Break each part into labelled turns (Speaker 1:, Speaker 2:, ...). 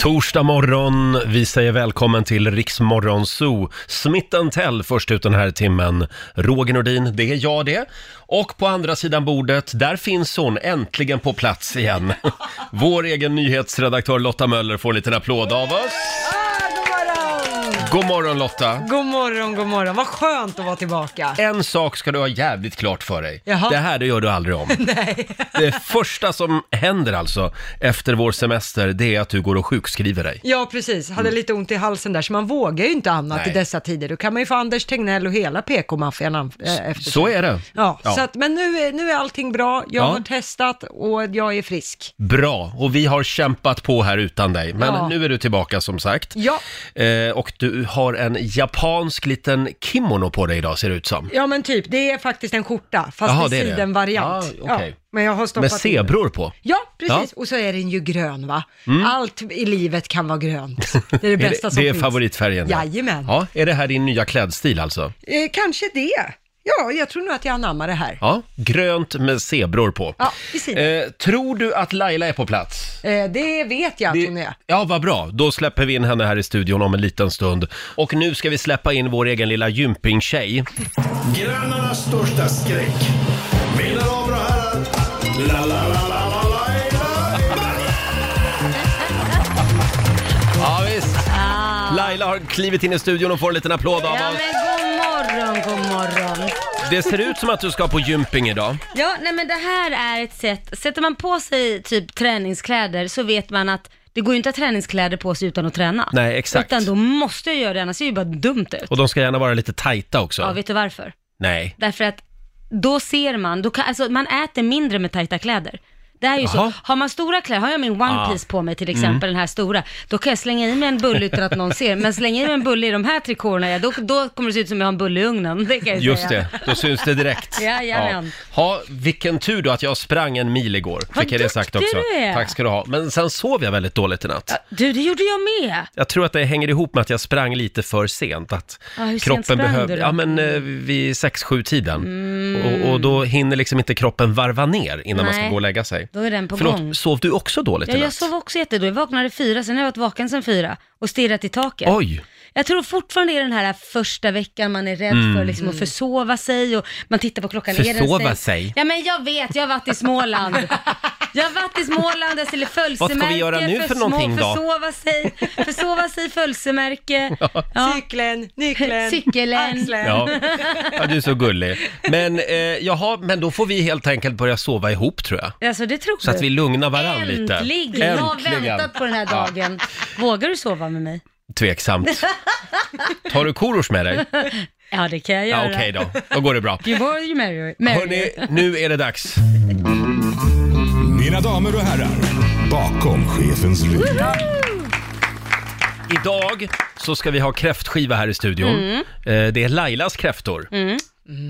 Speaker 1: Torsdag morgon, vi säger välkommen till Riksmorgon Zoo. Smith Tell först ut den här timmen. Roger Nordin, det är jag det. Och på andra sidan bordet, där finns hon äntligen på plats igen. Vår egen nyhetsredaktör Lotta Möller får en liten applåd av oss. God morgon Lotta!
Speaker 2: God morgon, god morgon. Vad skönt att vara tillbaka.
Speaker 1: En sak ska du ha jävligt klart för dig.
Speaker 2: Jaha.
Speaker 1: Det här det gör du aldrig om.
Speaker 2: Nej.
Speaker 1: Det första som händer alltså efter vår semester, det är att du går och sjukskriver dig.
Speaker 2: Ja, precis. Hade lite ont i halsen där, så man vågar ju inte annat
Speaker 1: Mm. Nej.
Speaker 2: i dessa tider. Då kan man ju få Anders Tegnell och hela PK-maffian an- eh, efter sig.
Speaker 1: Så är det.
Speaker 2: Ja,
Speaker 1: Ja.
Speaker 2: Så att, men nu är, nu är allting bra. Jag
Speaker 1: Ja.
Speaker 2: har testat och jag är frisk.
Speaker 1: Bra, och vi har kämpat på här utan dig. Men
Speaker 2: Ja.
Speaker 1: nu är du tillbaka som sagt.
Speaker 2: Ja,
Speaker 1: Eh, och du har en japansk liten kimono på dig idag ser det ut som.
Speaker 2: ja men typ. Det är faktiskt en skjorta, fast
Speaker 1: Jaha,
Speaker 2: i
Speaker 1: det är det.
Speaker 2: sidenvariant.
Speaker 1: Ja, okej.
Speaker 2: men jag har
Speaker 1: Med
Speaker 2: stoppat in-
Speaker 1: zebror på.
Speaker 2: Ja, precis. Och så är den ju grön va?
Speaker 1: Mm.
Speaker 2: Allt i livet kan vara grönt. Det är det
Speaker 1: Är
Speaker 2: bästa
Speaker 1: det,
Speaker 2: som
Speaker 1: det är
Speaker 2: finns.
Speaker 1: favoritfärgen. där.
Speaker 2: Jajamän.
Speaker 1: Ja, är det här din nya klädstil alltså?
Speaker 2: Eh, kanske det. Ja, jag tror nog att jag anammar det här.
Speaker 1: Ja, grönt med zebror på.
Speaker 2: Ja, i sidan.
Speaker 1: eh, tror du att Laila är på plats?
Speaker 2: Eh, det vet jag att hon är.
Speaker 1: Ja, vad bra. Då släpper vi in henne här i studion om en liten stund. Och nu ska vi släppa in vår egen lilla gympingtjej.
Speaker 3: Grannarnas största skräck. Mina damer och herrar. La, la, la, la, la, la, la.
Speaker 1: Ja, visst. Laila har klivit in i studion och får en liten applåd av
Speaker 4: Ja
Speaker 1: oss.
Speaker 4: men god morgon, god morgon.
Speaker 1: Det ser ut som att du ska på gymping idag.
Speaker 4: Ja, nej men det här är ett sätt, sätter man på sig typ träningskläder så vet man att det går ju inte att ha träningskläder på sig utan att träna.
Speaker 1: Nej, exakt.
Speaker 4: Utan då måste jag göra det, annars ser det ju bara dumt ut.
Speaker 1: Och de ska gärna vara lite tajta också.
Speaker 4: Ja, vet du varför?
Speaker 1: Nej.
Speaker 4: Därför att då ser man, då kan, alltså man äter mindre med tajta kläder. Det är ju
Speaker 1: Jaha.
Speaker 4: så, har man stora kläder, har jag min one
Speaker 1: Ah.
Speaker 4: piece på mig till exempel, den här stora, då kan jag slänga i mig en bulle utan att någon ser. Men slänga i mig en bulle i de här trikåerna, ja, då, då kommer det se ut som jag har en bulle i ugnen. Det kan jag ju
Speaker 1: Just
Speaker 4: säga.
Speaker 1: det, då syns det direkt.
Speaker 4: Jajamän.
Speaker 1: Ha, vilken tur då att jag sprang en mil igår.
Speaker 4: Vad
Speaker 1: Fick jag det sagt
Speaker 4: duktig
Speaker 1: också.
Speaker 4: du är.
Speaker 1: Tack ska du ha. Men sen sov jag väldigt dåligt i natt.
Speaker 4: Du, det gjorde jag med.
Speaker 1: Jag tror att det hänger ihop med att jag sprang lite för sent. Att
Speaker 4: Ja, hur sent
Speaker 1: kroppen
Speaker 4: sprang du
Speaker 1: behövde,
Speaker 4: då? Mm.
Speaker 1: ja men eh, vid 6-7 tiden. Och, och då hinner liksom inte kroppen varva ner innan man ska
Speaker 4: Nej.
Speaker 1: gå och lägga sig.
Speaker 4: Då är den på
Speaker 1: Förlåt,
Speaker 4: gång.
Speaker 1: sov du också dåligt
Speaker 4: Ja,
Speaker 1: i
Speaker 4: jag
Speaker 1: natt?
Speaker 4: sov också jättedåligt. Jag vaknade fyra, sen har jag varit vaken sen fyra och stirrat i taket.
Speaker 1: Oj!
Speaker 4: Jag tror fortfarande det är den här första veckan man är rädd för liksom, att försova sig och man tittar på klockan. Är den
Speaker 1: Mm. Försova
Speaker 4: stängt?
Speaker 1: sig?
Speaker 4: Ja men jag vet, jag har varit i Småland. Jag har varit i Småland, alltså, jag ställer födelsemärke.
Speaker 1: göra nu för
Speaker 4: försmo-
Speaker 1: någonting då?
Speaker 4: Försova sig, försova sig, födelsemärke. Ja.
Speaker 2: Cykeln, nyckeln,
Speaker 4: Cykeln.
Speaker 2: axeln.
Speaker 1: Ja. ja, du är så gullig. Men, eh, jaha, men då får vi helt enkelt börja sova ihop tror jag.
Speaker 4: Alltså det tror
Speaker 1: Så att
Speaker 4: du.
Speaker 1: vi lugnar varann lite.
Speaker 4: Äntligen! Jag har väntat på den här
Speaker 1: Ja.
Speaker 4: dagen. Vågar du sova med mig?
Speaker 1: Tveksamt. Tar du Korosh med dig?
Speaker 4: Ja, det kan jag göra.
Speaker 1: Ja, okej då. Då går det bra.
Speaker 4: You were, you marry. marry.
Speaker 1: Hörni, nu är det dags.
Speaker 3: Mina damer och herrar. Bakom chefens rygg.
Speaker 1: Idag så ska vi ha kräftskiva här i studion.
Speaker 4: Mm.
Speaker 1: Eh, Det är Lailas kräftor.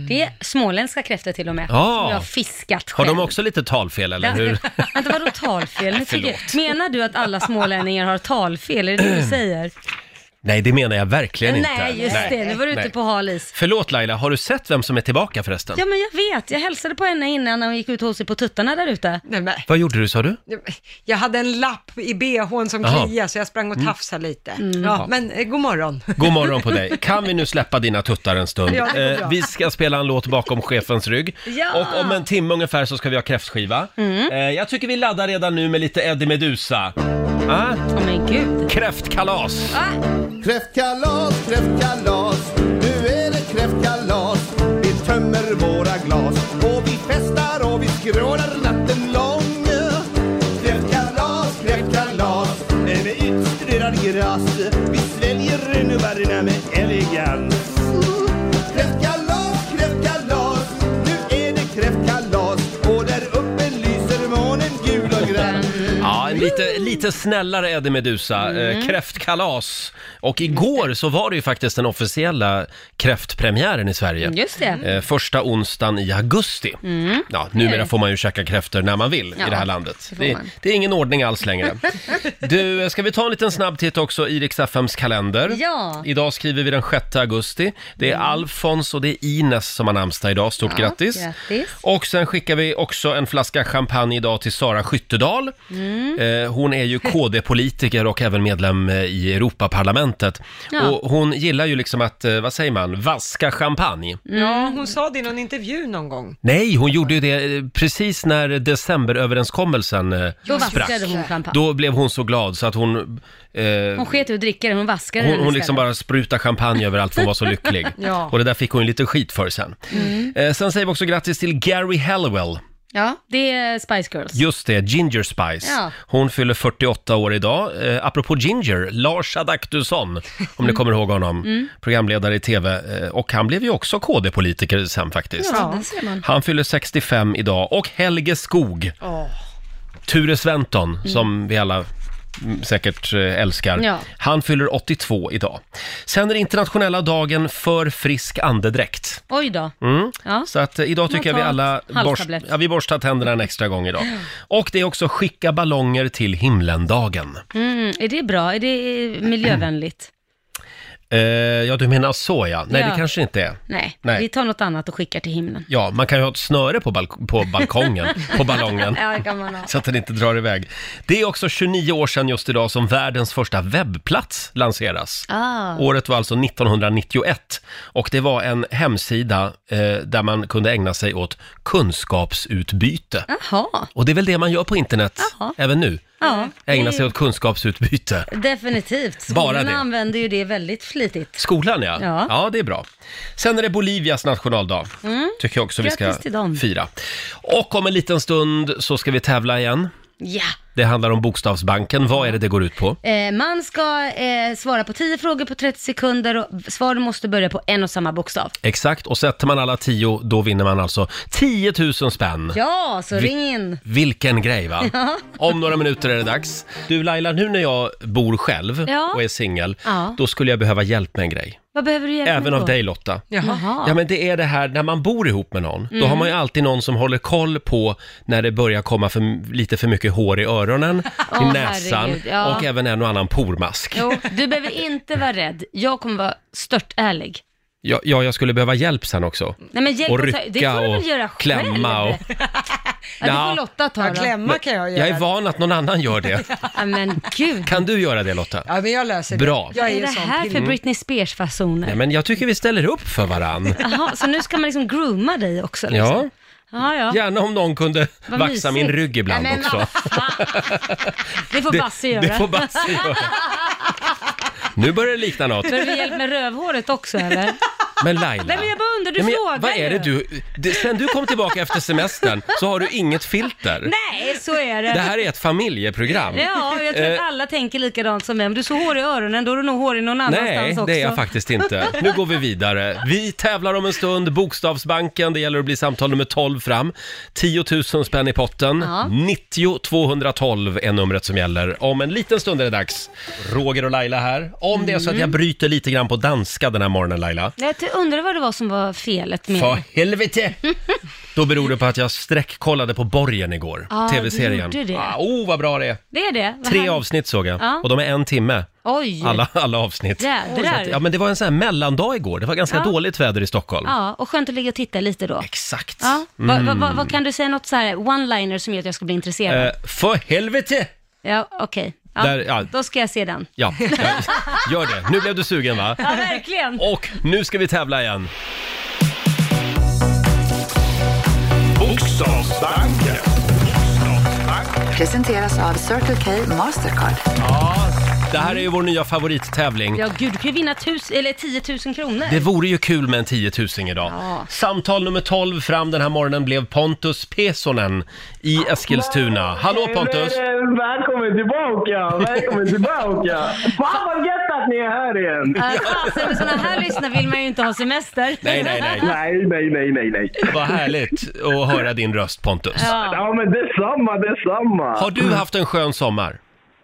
Speaker 4: Det är småländska kräftor till och med,
Speaker 1: Ja.
Speaker 4: som jag har fiskat
Speaker 1: Har
Speaker 4: själv.
Speaker 1: de också lite talfel eller hur?
Speaker 4: Vänta, vadå talfel? Nu tycker jag- Menar du att alla smålänningar har talfel? Är det det du säger?
Speaker 1: Nej, det menar jag verkligen inte.
Speaker 4: Nej, just det. Nu var du ute
Speaker 1: nej.
Speaker 4: på halis.
Speaker 1: Förlåt Laila, har du sett vem som är tillbaka förresten?
Speaker 4: Ja, men jag vet. Jag hälsade på henne innan när hon gick ut och höll sig på tuttarna där ute.
Speaker 2: Nej, men,
Speaker 1: Vad gjorde du sa du?
Speaker 2: jag hade en lapp i bhn som
Speaker 1: Jaha. Mm.
Speaker 2: kliade så jag sprang och tafsade lite.
Speaker 5: Mm.
Speaker 2: Ja, men eh, god morgon.
Speaker 1: God morgon på dig. Kan vi nu släppa dina tuttar en stund? Eh,
Speaker 2: Ja, det går bra.
Speaker 1: vi ska spela en låt bakom chefens rygg.
Speaker 4: Ja!
Speaker 1: Och om en timme ungefär så ska vi ha kräftskiva. Eh, jag tycker vi laddar redan nu med lite Eddie Meduza. Ah,
Speaker 4: Åh men gud.
Speaker 1: kräftkalas!
Speaker 6: Kräftkalas, kräftkalas, nu är det kräftkalas. Vi tömmer våra glas och vi festar och vi skrålar natten lång. Kräftkalas, kräftkalas, med utstuderad gras. Vi sväljer renovarierna med elegans. Kräftkalas, kräftkalas, nu är det kräftkalas. Och där uppe lyser månen gul och grann.
Speaker 1: Ja, en lite, lite snällare Eddie Meduza. Eh, kräftkalas. Och igår så var det ju faktiskt den officiella kräftpremiären i Sverige.
Speaker 4: Just det. Mm.
Speaker 1: Eh, första onsdagen i augusti. Ja, numera får man ju käka kräftor när man vill i
Speaker 4: Ja,
Speaker 1: det här landet.
Speaker 4: det får
Speaker 1: Det, är-
Speaker 4: man.
Speaker 1: det är ingen ordning alls längre. Du, eh, ska vi ta en liten snabb titt också i Rix FMs kalender?
Speaker 4: Ja. Mm.
Speaker 1: Idag skriver vi den 6 augusti. Det är Alfons och det är Ines som har namnsdag idag. Stort
Speaker 4: Ja,
Speaker 1: grattis.
Speaker 4: grattis. Mm.
Speaker 1: Och sen skickar vi också en flaska champagne idag till Sara Skyttedal. Eh, hon är är ju KD-politiker och även medlem eh, i Europaparlamentet.
Speaker 4: Ja.
Speaker 1: Och hon gillar ju liksom att, eh, vad säger man, vaska champagne.
Speaker 7: Ja, hon sa det i någon intervju någon gång.
Speaker 1: Nej, hon gjorde ju det eh, precis när decemberöverenskommelsen eh,
Speaker 4: Då
Speaker 1: sprack.
Speaker 4: vaskade hon champagne.
Speaker 1: Då blev hon så glad så att hon... Eh,
Speaker 4: Hon sket i att dricka den, hon vaskade
Speaker 1: hon,
Speaker 4: den
Speaker 1: hon
Speaker 4: istället.
Speaker 1: liksom bara sprutade champagne överallt för hon var så lycklig.
Speaker 7: Ja.
Speaker 1: Och det där fick hon ju lite skit för sen. Eh, sen säger vi också grattis till Gary Halliwell.
Speaker 4: Mm. Ja, det är Spice Girls.
Speaker 1: Just det, Ginger Spice.
Speaker 4: Ja.
Speaker 1: Hon fyller 48 år idag. Eh, apropå Ginger, Lars Adaktusson, om ni kommer ihåg honom,
Speaker 4: Mm.
Speaker 1: programledare i TV. Eh, och han blev ju också KD-politiker sen faktiskt.
Speaker 4: Ja, där ser man.
Speaker 1: Han fyller 65 idag. Och Helge Skog. Ture Sventon, som vi alla mm, säkert eh, älskar.
Speaker 4: Ja.
Speaker 1: Han fyller 82 idag. Sen är det internationella dagen för frisk andedräkt.
Speaker 4: Oj då. Ja.
Speaker 1: Mm. Så att eh, idag tycker jag
Speaker 4: Man
Speaker 1: vi
Speaker 4: tar
Speaker 1: alla borst,
Speaker 4: halstablett.
Speaker 1: ja, vi borstar tänderna en extra gång idag. Och det är också skicka ballonger till himlen-dagen.
Speaker 4: Mm, är det bra? Är det eh, miljövänligt?
Speaker 1: Eh, ja, du menar så ja. Nej,
Speaker 4: Ja.
Speaker 1: det kanske inte är.
Speaker 4: Nej.
Speaker 1: Nej.
Speaker 4: vi tar något annat och skickar till himlen.
Speaker 1: Ja, man kan ju ha ett snöre på, balk- på balkongen, på ballongen.
Speaker 4: Ja, det kan man ha.
Speaker 1: Så att den inte drar iväg. Det är också 29 år sedan just idag som världens första webbplats lanseras.
Speaker 4: Ah.
Speaker 1: Året var alltså 1991 och det var en hemsida eh, där man kunde ägna sig åt kunskapsutbyte.
Speaker 4: Jaha,
Speaker 1: Och det är väl det man gör på internet
Speaker 4: Jaha. Mm.
Speaker 1: även nu?
Speaker 4: ja.
Speaker 1: Ägna
Speaker 4: det-
Speaker 1: sig åt kunskapsutbyte.
Speaker 4: Definitivt.
Speaker 1: Bara
Speaker 4: Skolorna
Speaker 1: det.
Speaker 4: använder ju det väldigt flitigt.
Speaker 1: Skolan ja. ja.
Speaker 4: Ja.
Speaker 1: det är bra. Sen är det Bolivias nationaldag.
Speaker 4: Mm.
Speaker 1: Tycker jag också vi ska
Speaker 4: Grattis till dem.
Speaker 1: fira. Och om en liten stund så ska vi tävla igen.
Speaker 4: Ja.
Speaker 1: Det handlar om Bokstavsbanken. Vad är det det går ut på?
Speaker 4: Eh, man ska eh, svara på 10 frågor på 30 sekunder och svaren måste börja på en och samma bokstav.
Speaker 1: Exakt, och sätter man alla tio, då vinner man alltså 10 000 spänn.
Speaker 4: Ja, så
Speaker 1: Vi-
Speaker 4: ring in.
Speaker 1: Vilken grej va? Om några minuter är det dags. Du Laila, nu när jag bor själv
Speaker 4: Ja.
Speaker 1: och är singel,
Speaker 4: Ja.
Speaker 1: då skulle jag behöva hjälp med en grej.
Speaker 4: Vad behöver du hjälp med
Speaker 1: Även
Speaker 4: då?
Speaker 1: av dig Lotta.
Speaker 4: Jaha. Mm.
Speaker 1: Ja men det är det här när man bor ihop med någon, då har man ju alltid någon som håller koll på när det börjar komma för, lite för mycket hår i öronen, i
Speaker 4: Åh,
Speaker 1: näsan
Speaker 4: herregud, ja.
Speaker 1: och även en och annan pormask.
Speaker 4: Jo, du behöver inte vara rädd. Jag kommer vara störtärlig.
Speaker 1: Ja, ja, jag skulle behöva hjälp sen också.
Speaker 4: Nej, men hjälp
Speaker 1: Och
Speaker 4: att ta-
Speaker 1: rycka
Speaker 4: det får du
Speaker 1: och
Speaker 4: väl göra själv?
Speaker 1: klämma och-
Speaker 4: Ja, det
Speaker 1: Ja.
Speaker 4: får Lotta ta
Speaker 7: Ja,
Speaker 4: då.
Speaker 7: klämma kan jag göra.
Speaker 1: Jag är van att någon annan gör det.
Speaker 4: Ja, men gud.
Speaker 1: Kan du göra det Lotta?
Speaker 7: Ja, men jag löser
Speaker 1: Bra.
Speaker 7: det. Jag
Speaker 4: Vad
Speaker 7: är
Speaker 4: är
Speaker 7: ju
Speaker 4: det
Speaker 7: sån
Speaker 4: här
Speaker 7: kille.
Speaker 4: för Britney Spears-fasoner?
Speaker 1: Nej, men jag tycker vi ställer upp för varann.
Speaker 4: Jaha, så nu ska man liksom grooma dig också?
Speaker 1: Ja,
Speaker 4: Liksom. Ja, ja.
Speaker 1: gärna om någon kunde
Speaker 4: Vad
Speaker 1: vaxa min
Speaker 4: mysigt.
Speaker 1: rygg ibland
Speaker 4: Nej, men
Speaker 1: också.
Speaker 4: vad fan. Det får Basse göra.
Speaker 1: det får Basse göra. Nu börjar det likna något.
Speaker 4: Behöver vi hjälp med rövhåret också eller?
Speaker 1: Men Laila.
Speaker 4: Nej, men jag bara undrar, du
Speaker 1: Nej, men
Speaker 4: frågar
Speaker 1: Vad är det
Speaker 4: ju.
Speaker 1: du... Det, sen du kom tillbaka efter semestern så har du inget filter.
Speaker 4: Nej, så är
Speaker 1: Det
Speaker 4: det.
Speaker 1: här är ett familjeprogram. Eh,
Speaker 4: Ja, jag tror att alla tänker likadant som mig. Om du är så hårig i öronen, då är du nog hårig någon annanstans
Speaker 1: Nej,
Speaker 4: också.
Speaker 1: det är jag faktiskt inte. Nu går vi vidare. Vi tävlar om en stund. Bokstavsbanken, det gäller att bli samtal nummer 12 fram. 10 000 spänn i potten.
Speaker 4: Ja.
Speaker 1: 90 212 är numret som gäller. Om en liten stund är det dags. Roger och Laila här. Om det är så
Speaker 4: Mm.
Speaker 1: att jag bryter lite grann på danska den här morgonen Laila.
Speaker 4: Jag t- undrar vad det var som var felet med
Speaker 1: För helvete! Då beror det på att jag sträckkollade på Borgen igår,
Speaker 4: Ah, du
Speaker 1: tv-serien.
Speaker 4: gjorde det.
Speaker 1: Ah, oh, vad bra det är!
Speaker 4: Det är det? Vad
Speaker 1: Tre
Speaker 4: han-
Speaker 1: avsnitt såg jag,
Speaker 4: Ja.
Speaker 1: och de är en timme,
Speaker 4: Oj!
Speaker 1: alla, alla avsnitt. Så
Speaker 4: Jädrar!
Speaker 1: att- Ja, men det var en sån här mellandag igår. Det var ganska
Speaker 4: Ja.
Speaker 1: dåligt väder i Stockholm.
Speaker 4: Ja, och skönt att ligga och titta lite då.
Speaker 1: Exakt. Mm.
Speaker 4: Ja. Va, va, va, vad kan du säga något så här one-liner som gör att jag ska bli intresserad?
Speaker 1: Eh, för helvete!
Speaker 4: ja, okej. Ja,
Speaker 1: där- ja.
Speaker 4: Då ska jag se den.
Speaker 1: Ja, ja, gör det. Nu blev du sugen va?
Speaker 4: Ja, verkligen.
Speaker 1: Och nu ska vi tävla igen.
Speaker 3: Bokstavsbanken.
Speaker 8: Presenteras av Circle K Mastercard.
Speaker 1: Det här är ju vår nya favorittävling.
Speaker 4: Ja, gud, du kan ju vinna tus- eller 10 000 kronor.
Speaker 1: Det vore ju kul med en 10 000 idag.
Speaker 4: Ja.
Speaker 1: Samtal nummer 12 fram den här morgonen blev Pontus Pesonen i Eskilstuna. Hallå Pontus!
Speaker 9: Men, eh, Välkommen tillbaka! Välkommen tillbaka! Fan vad gött att ni är här igen!
Speaker 4: Ja, Fasen, med sådana här lyssnare vill man ju inte ha semester.
Speaker 1: Nej, nej, nej.
Speaker 9: Nej, nej, nej, nej, nej.
Speaker 1: Vad härligt att höra din röst Pontus.
Speaker 4: Ja.
Speaker 9: Ja men detsamma,
Speaker 1: Har
Speaker 9: detsamma!
Speaker 1: du haft en skön sommar?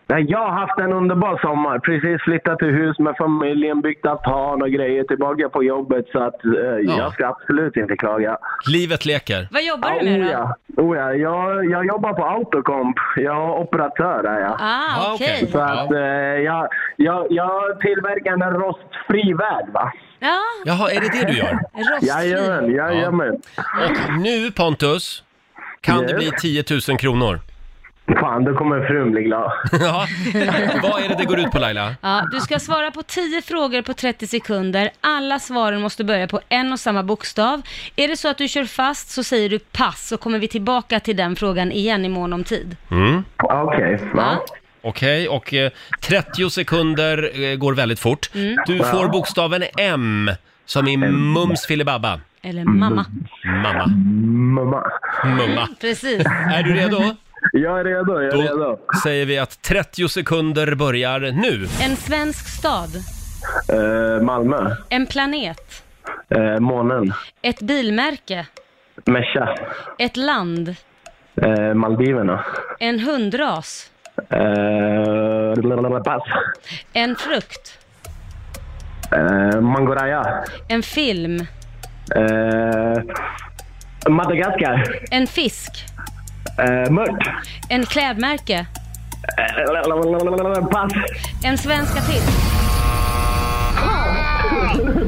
Speaker 9: Nej, jag har haft en underbar sommar. Precis flyttat till hus med familjen, byggt altan och grejer, tillbaka på jobbet så att eh, jag ska absolut inte klaga.
Speaker 1: Livet leker.
Speaker 4: Vad jobbar du
Speaker 9: oh,
Speaker 4: med då?
Speaker 9: ja. Oh, ja. Jag, jag jobbar på Autocomp. Jag är operatör är jag.
Speaker 1: Ah,
Speaker 4: Ah,
Speaker 1: okej.
Speaker 4: okej.
Speaker 9: Så att
Speaker 1: Ja.
Speaker 9: eh, jag, jag, jag tillverkar en rostfri värld va?
Speaker 4: Ja,
Speaker 1: Jaha, är det det du gör?
Speaker 4: rostfri.
Speaker 9: oh. Jajamän, jajamän.
Speaker 1: Och nu Pontus, kan det
Speaker 9: Yes.
Speaker 1: bli 10 000 kronor?
Speaker 9: Fan, då kommer frun bli glad.
Speaker 1: Ja. Vad är det det går ut på Laila?
Speaker 4: Ja, du ska svara på 10 frågor på 30 sekunder. Alla svaren måste börja på en och samma bokstav. Är det så att du kör fast så säger du pass så kommer vi tillbaka till den frågan igen i mån om tid.
Speaker 1: Mm.
Speaker 9: Okej.
Speaker 4: Ja.
Speaker 1: Okej, och eh, 30 sekunder eh, går väldigt fort.
Speaker 4: Mm.
Speaker 1: Du får bokstaven M, som i Mums filibabba.
Speaker 4: Eller
Speaker 1: Mm.
Speaker 4: mamma.
Speaker 1: Mamma.
Speaker 9: Mamma.
Speaker 1: Mumma.
Speaker 4: Precis.
Speaker 1: Är du redo?
Speaker 9: Jag är redo, jag är redo.
Speaker 1: Då säger vi att 30 sekunder börjar nu.
Speaker 4: En svensk stad.
Speaker 9: Eh, Malmö.
Speaker 4: En planet.
Speaker 9: Eh, månen.
Speaker 4: Ett bilmärke.
Speaker 9: Mesha.
Speaker 4: Ett land.
Speaker 9: Eh, Maldiverna.
Speaker 4: En hundras.
Speaker 9: Eh, lalalala, pass.
Speaker 4: En frukt.
Speaker 9: Eh, Mangoraya.
Speaker 4: En film.
Speaker 9: Eh, Madagaskar.
Speaker 4: En fisk.
Speaker 9: Eh, mört.
Speaker 4: En klädmärke.
Speaker 9: Eh, lalalala, pass.
Speaker 4: En svenska till.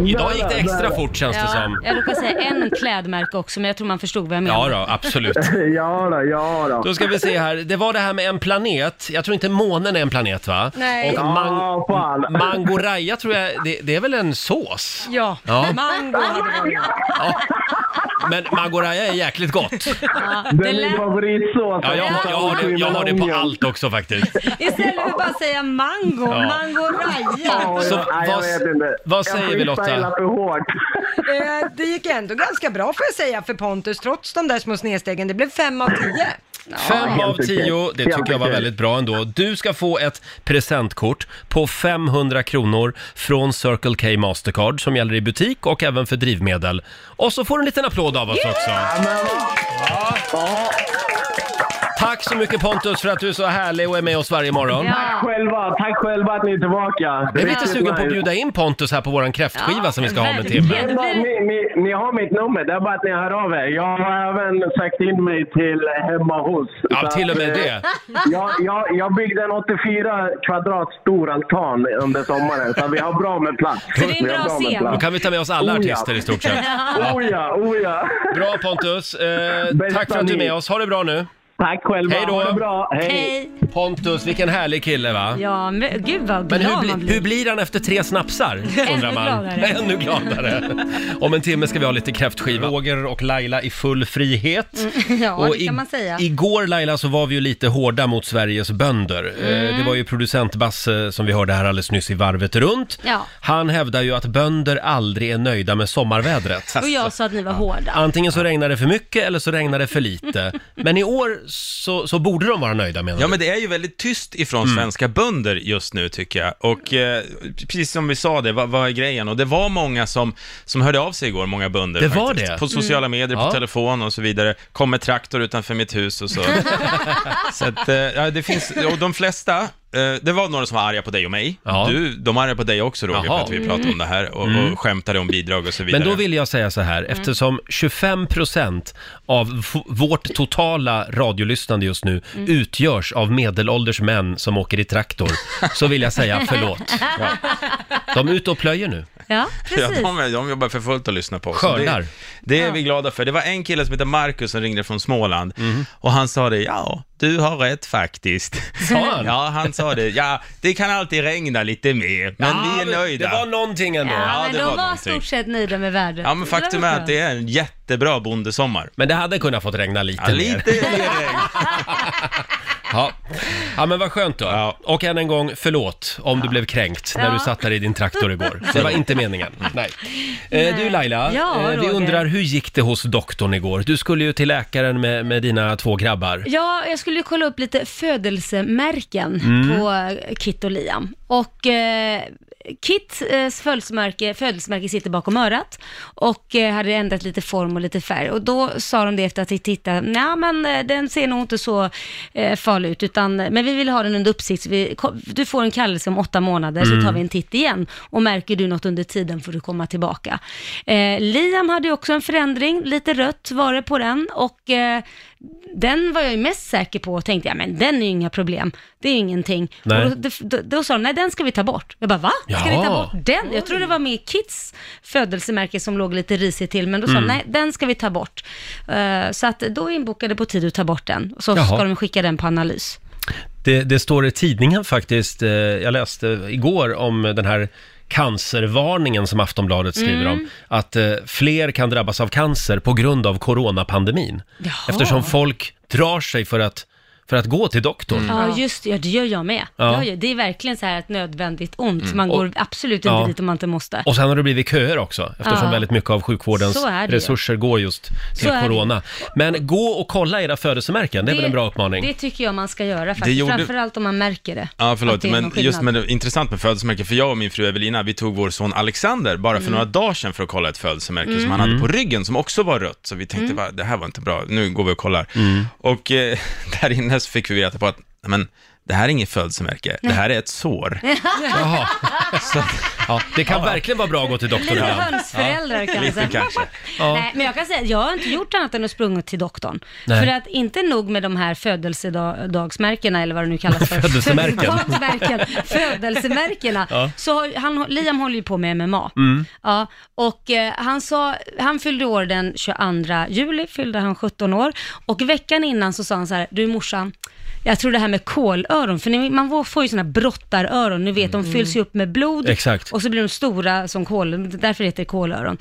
Speaker 1: Idag gick det extra fort känns det
Speaker 4: Ja,
Speaker 1: som.
Speaker 4: jag råkade säga en klädmärke också, men jag tror man förstod vad jag menade.
Speaker 1: Ja då, absolut.
Speaker 9: Ja då, ja då.
Speaker 1: Då ska vi se här. Det var det här med en planet. Jag tror inte månen är en planet va?
Speaker 7: Nej.
Speaker 1: Och man-
Speaker 9: Ja, fan.
Speaker 1: mangoraya tror jag, det, det är väl en sås?
Speaker 7: Ja,
Speaker 1: Ja.
Speaker 7: mango hade varit.
Speaker 1: Men mangoraya är jäkligt gott.
Speaker 4: Ja,
Speaker 9: Det
Speaker 4: det
Speaker 9: är min
Speaker 4: lät,
Speaker 9: favoritsås.
Speaker 1: Ja, jag, har- jag, har det, jag har det på allt också faktiskt.
Speaker 4: istället för att bara säga mango,
Speaker 1: Ja.
Speaker 4: mango raja.
Speaker 9: Ja,
Speaker 1: Så
Speaker 9: jag, nej, jag
Speaker 1: vad-
Speaker 9: vet inte.
Speaker 1: vad säger vi, Lotta?
Speaker 9: Jag freestylar för hårt.
Speaker 7: Eh, Det gick ändå ganska bra får jag säga för Pontus, trots de där små snedstegen. Det blev fem av tio.
Speaker 1: Fem av
Speaker 9: helt okej.
Speaker 1: tio, det
Speaker 9: Helt
Speaker 1: tycker jag var
Speaker 9: okej.
Speaker 1: väldigt bra ändå. Du ska få ett presentkort på 500 kronor från Circle K Mastercard som gäller i butik och även för drivmedel. Och så får du en liten applåd av oss också. Tack så mycket Pontus för att du är så härlig och är med oss varje morgon.
Speaker 4: Ja.
Speaker 9: Själva, tack själva att ni är tillbaka.
Speaker 1: Jag är lite
Speaker 9: Riktigt
Speaker 1: sugen på att
Speaker 9: nice.
Speaker 1: bjuda in Pontus här på våran kräftskiva
Speaker 4: Ja,
Speaker 1: som vi ska ha om en
Speaker 4: verkligen.
Speaker 1: timme.
Speaker 4: Det blir-
Speaker 9: Ni, ni, ni har mitt nummer, det är bara att ni hör av er. Jag har även sagt in mig till hemma hos. Så
Speaker 1: Ja,
Speaker 9: att,
Speaker 1: till och med
Speaker 9: eh,
Speaker 1: det.
Speaker 9: Jag, jag, jag byggde en 84 kvadrat stor altan under sommaren, så vi har bra med plats.
Speaker 4: Så det är en
Speaker 9: Vi har
Speaker 4: bra
Speaker 9: med
Speaker 4: scen.
Speaker 1: Då
Speaker 9: plats.
Speaker 1: kan vi ta med oss alla
Speaker 9: Oh, ja.
Speaker 1: artister i stort sett.
Speaker 9: Oh ja, oh ja.
Speaker 1: Bra Pontus, eh,
Speaker 9: Bästa
Speaker 1: tack för att du är
Speaker 9: ni.
Speaker 1: med oss. Ha det bra nu.
Speaker 9: Tack själva,
Speaker 1: Hej då.
Speaker 9: ha det bra.
Speaker 4: Hej.
Speaker 1: Pontus, vilken härlig kille va?
Speaker 4: Ja, men gud vad glad
Speaker 1: Men hur,
Speaker 4: man
Speaker 1: bli,
Speaker 4: blir.
Speaker 1: hur blir han efter tre snapsar? Undrar man.
Speaker 4: gladare.
Speaker 1: Ännu gladare. Om en timme ska vi ha lite kräftskiva. Roger och Laila i full frihet.
Speaker 4: Mm, ja,
Speaker 1: Och
Speaker 4: det kan man säga.
Speaker 1: Igår Laila så var vi ju lite hårda mot Sveriges bönder. Eh,
Speaker 4: Mm.
Speaker 1: Det var ju producent Basse eh, som vi hörde här alldeles nyss i varvet runt.
Speaker 4: Ja.
Speaker 1: Han hävdar ju att bönder aldrig är nöjda med sommarvädret.
Speaker 4: Och jag sa att ni var hårda.
Speaker 1: Antingen så regnar det för mycket eller så regnar det för lite. Men i år så, så borde de vara nöjda menar
Speaker 10: Ja,
Speaker 1: du?
Speaker 10: men det är ju väldigt tyst ifrån
Speaker 1: Mm.
Speaker 10: svenska bönder just nu tycker jag. Och eh, precis som vi sa det, vad, vad är grejen? Och det var många som, som hörde av sig igår, många bönder
Speaker 1: Det var
Speaker 10: faktiskt.
Speaker 1: det?
Speaker 10: På sociala medier, på
Speaker 1: Ja.
Speaker 10: telefon och så vidare. Kom med traktor utanför mitt hus och så. så att, eh, ja, det finns, och de flesta, eh, det var några som var arga på dig och mig.
Speaker 1: Ja.
Speaker 10: Du, de var arga på dig också Roger,
Speaker 1: Jaha. Mm.
Speaker 10: för att vi pratade om det här och, och skämtade om bidrag och så vidare.
Speaker 1: Men då vill jag säga så här, eftersom 25% av v- vårt totala radiolyssnande just nu utgörs av medelålders män som åker i traktor, så vill jag säga förlåt. De är ute och plöjer nu.
Speaker 4: Ja,
Speaker 10: Ja,
Speaker 4: precis.
Speaker 10: de, är- de jobbar för fullt att lyssna på oss.
Speaker 1: Skördar.
Speaker 10: Det, det är vi glada för. Det var en kille som heter Marcus som ringde från Småland
Speaker 1: Mhm.
Speaker 10: och han sa det, ja, du har rätt faktiskt.
Speaker 1: Sa han?
Speaker 10: Ja, han sa det, ja, det kan alltid regna lite mer, men
Speaker 1: Ja,
Speaker 10: vi är nöjda.
Speaker 1: Det var någonting ändå.
Speaker 4: Ja,
Speaker 10: Ja,
Speaker 4: men
Speaker 10: det
Speaker 4: de
Speaker 10: var
Speaker 4: var
Speaker 10: någonting.
Speaker 4: stort sett nöjda med vädret.
Speaker 10: Ja, men faktum är att det
Speaker 4: är...
Speaker 10: är en jättebra bondesommar.
Speaker 1: Men det hade kunnat fått regna lite
Speaker 10: Ja,
Speaker 1: mer.
Speaker 10: lite mer regn.
Speaker 1: Ja. ja, men vad skönt då.
Speaker 10: Ja.
Speaker 1: Och än en gång, förlåt om du blev kränkt när
Speaker 4: Ja. Mm.
Speaker 1: du satt där i din traktor igår. Det var inte meningen. Nej. Eh, Du Laila,
Speaker 4: Ja,
Speaker 1: eh, vi
Speaker 4: Roger.
Speaker 1: undrar hur gick det hos doktorn igår? Du skulle ju till läkaren med, med dina två grabbar.
Speaker 4: Ja, jag skulle ju kolla upp lite födelsemärken på eh, Kit och Liam. Och eh, Kits eh, födelsemärke, födelsemärke sitter bakom örat och eh, hade ändrat lite form och lite färg. Och då sa de det efter att vi tittade, nej men eh, den ser nog inte så eh, farlig ut, utan, men vi vill ha den under uppsikt. så Vi, ko- du får en kallelse om åtta månader så tar vi en titt igen och märker du något under tiden får du komma tillbaka. Eh, Liam hade ju också en förändring, lite rött var det på den och eh, den var jag ju mest säker på och tänkte, ja men den är ju inga problem. det är ju ingenting.
Speaker 1: Nej.
Speaker 4: Och då, då, då sa de, nej den ska vi ta bort. Jag bara, va? Ska vi ta
Speaker 1: Jaha.
Speaker 4: bort den? Jag tror det var med Kids födelsemärke som låg lite risigt till, men då sa
Speaker 1: Mm.
Speaker 4: de, nej den ska vi ta bort. Eh, så att då är inbokade på tid att ta bort den, så
Speaker 1: Jaha.
Speaker 4: ska de skicka den på analys.
Speaker 1: Det, det står i tidningen faktiskt, eh, jag läste igår om den här cancervarningen som Aftonbladet skriver
Speaker 4: Mm.
Speaker 1: om. Att eh, fler kan drabbas av cancer på grund av coronapandemin.
Speaker 4: Jaha.
Speaker 1: Eftersom folk drar sig för att, för att gå till doktorn.
Speaker 4: Mm. Ja, just det. Ja, det gör jag med.
Speaker 1: Ja. Mm.
Speaker 4: Jag gör, det är verkligen så här ett nödvändigt ont. Man går absolut inte
Speaker 1: Ja.
Speaker 4: dit om man inte måste.
Speaker 1: Och sen har det blivit köer också, eftersom
Speaker 4: Ja.
Speaker 1: väldigt mycket av sjukvårdens
Speaker 4: Så är det ju.
Speaker 1: resurser går just till
Speaker 4: Så är det.
Speaker 1: corona. Men gå och kolla era födelsemärken, det är väl en bra uppmaning?
Speaker 4: Det tycker jag man ska göra faktiskt.
Speaker 10: gjorde-
Speaker 4: Framförallt om man märker det.
Speaker 10: Ja,
Speaker 4: Att
Speaker 10: förlåt,
Speaker 4: det är
Speaker 10: men
Speaker 4: någon skillnad.
Speaker 10: just med det, intressant med födelsemärken, för jag och min fru Evelina, vi tog vår son Alexander bara
Speaker 4: Mm.
Speaker 10: för några dagar sedan för att kolla ett födelsemärke som han hade på ryggen, som också var rött, så vi tänkte
Speaker 4: Mm.
Speaker 10: bara, det här var inte bra, nu går vi och kollar. Och eh, där inne så fick vi veta på att, "Nej, men det här är inget födelsemärke, det här är ett sår.
Speaker 1: Jaha. Ja, det kan verkligen vara bra att gå till doktorn
Speaker 4: Lite
Speaker 1: ibland.
Speaker 4: hönsföräldrar kanske.
Speaker 10: Lite kanske.
Speaker 4: Nej, men jag kan säga, jag har inte gjort annat än att sprungit till doktorn.
Speaker 1: Nej.
Speaker 4: För att inte nog med de här födelsedagsmärkena, eller vad det nu kallas för.
Speaker 1: Födelsemärken.
Speaker 4: Födelsedagsmärken. Födelsemärkena. Så har, han, Liam håller ju på med MMA. Ja, och eh, han sa, han fyllde år den 22 juli, fyllde han 17 år. Och veckan innan så sa han så här, du morsan, jag tror det här med kolöron, för ni- man får ju sådana brottaröron, ni vet, de fylls ju upp med blod
Speaker 1: Mm. Exakt.
Speaker 4: och så blir de stora som kol, därför heter det kolöron.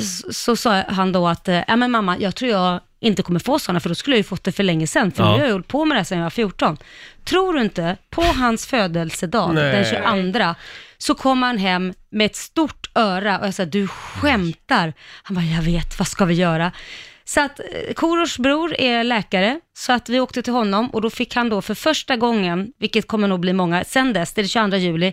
Speaker 4: Så, så sa han då att, eh, ja men mamma, jag tror jag inte kommer få sådana, för då skulle jag ju fått det för länge sedan, för
Speaker 1: Ja.
Speaker 4: nu har jag hållit på med det här sedan jag var 14. Tror du inte, på hans födelsedag,
Speaker 1: Nej.
Speaker 4: den 22, så kom han hem med ett stort öra och jag sa, du skämtar. Han bara, jag vet, vad ska vi göra? Så att eh, Korosh bror är läkare, så att vi åkte till honom och då fick han då för första gången, vilket kommer nog bli många, sen dess, det är det 22 juli,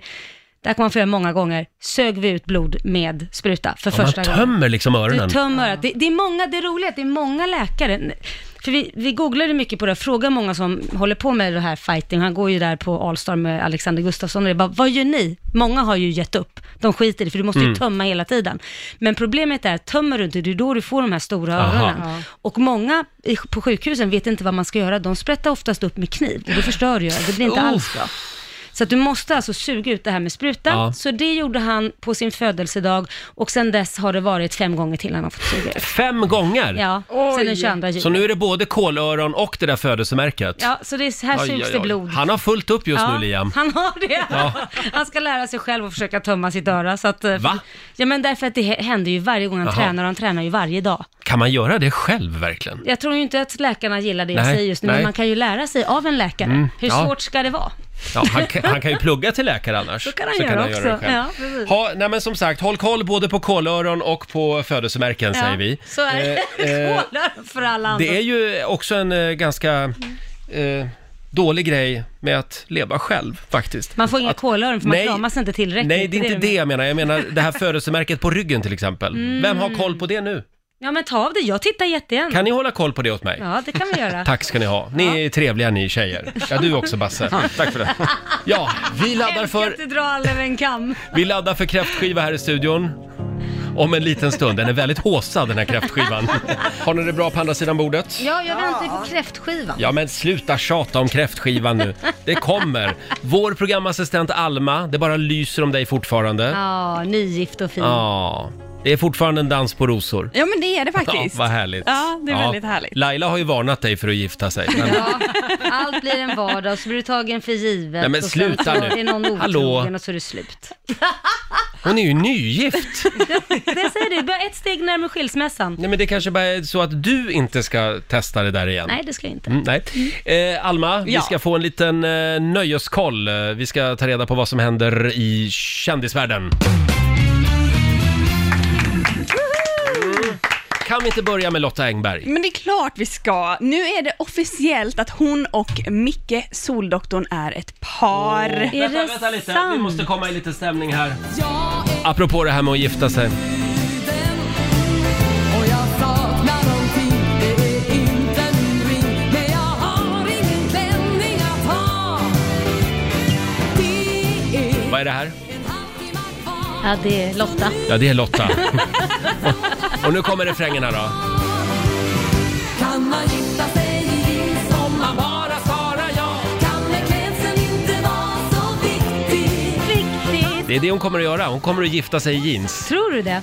Speaker 4: där kan man få göra många gånger, sög vi ut blod med spruta för
Speaker 1: Man
Speaker 4: första gången.
Speaker 1: tömmer liksom öronen.
Speaker 4: Du tömmer örat. Det, det är många, det är roligt, att det är många läkare. För vi, vi googlade mycket på det, frågar många som håller på med det här fighting, han går ju där på Allstar med Alexander Gustafsson och det är bara, vad gör ni? Många har ju gett upp, de skiter i det, för du måste
Speaker 1: Mm.
Speaker 4: ju tömma hela tiden. Men problemet är, tömmer du inte, det är då du får de här stora
Speaker 1: Aha.
Speaker 4: öronen. Och många i, på sjukhusen vet inte vad man ska göra, de sprättar oftast upp med kniv, och det förstör ju, det blir inte alls bra. Så att du måste alltså suga ut det här med spruta.
Speaker 1: Ja.
Speaker 4: Så det gjorde han på sin födelsedag och sen dess har det varit fem gånger till han har fått suga ut.
Speaker 1: Fem gånger?
Speaker 4: Ja, sen den 22 juli.
Speaker 1: Så nu är det både kolöron och det där födelsemärket?
Speaker 4: Ja, så det är, här
Speaker 1: Aj,
Speaker 4: sugs
Speaker 1: aj,
Speaker 4: det
Speaker 1: aj.
Speaker 4: blod.
Speaker 1: Han har fullt upp just
Speaker 4: ja,
Speaker 1: nu, Liam.
Speaker 4: Han har det. Han ska lära sig själv att försöka tömma sitt öra. Så att, eh,
Speaker 1: Va?
Speaker 4: Ja, men därför att det hä- händer ju varje gång han
Speaker 1: Jaha.
Speaker 4: tränar och han tränar ju varje dag.
Speaker 1: Kan man göra det själv verkligen?
Speaker 4: Jag tror ju inte att läkarna gillar det jag
Speaker 1: Nej,
Speaker 4: säger just nu,
Speaker 1: nej. Mm,
Speaker 4: men man kan ju lära sig av en läkare. Hur
Speaker 1: ja.
Speaker 4: svårt ska det vara?
Speaker 1: Ja, han, kan, han kan ju plugga till läkare annars.
Speaker 4: Så kan han göra också. Ja, precis.
Speaker 1: ha, nej, men som sagt, håll koll både på kolöron och på födelsemärken säger vi.
Speaker 4: Så är det.
Speaker 1: Eh, eh,
Speaker 4: Skålar för alla andra.
Speaker 1: det är ju också en eh, ganska eh, dålig grej med att leva själv faktiskt.
Speaker 4: Man får inga
Speaker 1: Att-
Speaker 4: kolöron för man
Speaker 1: Nej.
Speaker 4: kramas inte tillräckligt.
Speaker 1: Nej, det är inte
Speaker 4: du
Speaker 1: det jag menar. Jag menar det här födelsemärket på ryggen till exempel.
Speaker 4: Mm.
Speaker 1: Vem har koll på det nu?
Speaker 4: Ja men ta av det, jag tittar jättegärna.
Speaker 1: Kan ni hålla koll på det åt mig?
Speaker 4: Ja det kan vi göra.
Speaker 1: Tack ska ni ha. Ni är trevliga ni tjejer. Ja, du också Basse.
Speaker 10: Tack för det.
Speaker 1: Ja, vi laddar
Speaker 4: Jag kan
Speaker 1: för,
Speaker 4: inte dra alla över en kam.
Speaker 1: vi laddar för kräftskiva här i studion. Om en liten stund. Den är väldigt håsad den här kräftskivan. Har ni det bra på andra sidan bordet?
Speaker 4: Ja, jag väntar ju på kräftskivan.
Speaker 1: Ja men sluta tjata om kräftskivan nu. Det kommer. Vår programassistent Alma, det bara lyser om dig fortfarande.
Speaker 4: Ja, nygift och fin.
Speaker 1: Äh. Ja, det är fortfarande en dans på rosor.
Speaker 5: Ja men det är det
Speaker 1: Ja,
Speaker 5: faktiskt.
Speaker 1: vad härligt.
Speaker 5: Ja, det är väldigt härligt.
Speaker 1: Laila har ju varnat dig för att gifta sig. Men...
Speaker 4: Ja, allt blir en vardag och så blir du tagen för givet.
Speaker 1: Nej, men
Speaker 4: och
Speaker 1: sluta
Speaker 4: sen så
Speaker 1: nu.
Speaker 4: är någon otrogen
Speaker 1: Hallå.
Speaker 4: och så är det slut.
Speaker 1: Hon är ju nygift.
Speaker 4: Det säger du, bara ett steg närmare skilsmässan.
Speaker 1: Nej men det kanske bara är så att du inte ska testa det där igen.
Speaker 4: Nej, det ska jag inte.
Speaker 1: Mm, nej. Eh, Alma, vi
Speaker 5: Ja.
Speaker 1: ska få en liten eh, nöjeskoll. Eh, Vi ska ta reda på vad som händer i kändisvärlden. Mm. Kan vi inte börja med Lotta Engberg?
Speaker 5: Men det är klart vi ska. Nu är det officiellt att hon och Micke, Soldoktorn, är ett par.
Speaker 4: Är det sant?
Speaker 1: komma i lite stämning här. Apropå det här med att gifta sig. Vad är det här?
Speaker 4: Ja, det är Lotta.
Speaker 1: Ja, det är Lotta. Och nu kommer refrängen här då.
Speaker 11: Kan man gifta sig i som man bara svarar ja? Kan med klädseln in
Speaker 1: Det är det hon kommer att göra. Hon kommer att gifta sig i jeans.
Speaker 4: Tror du det?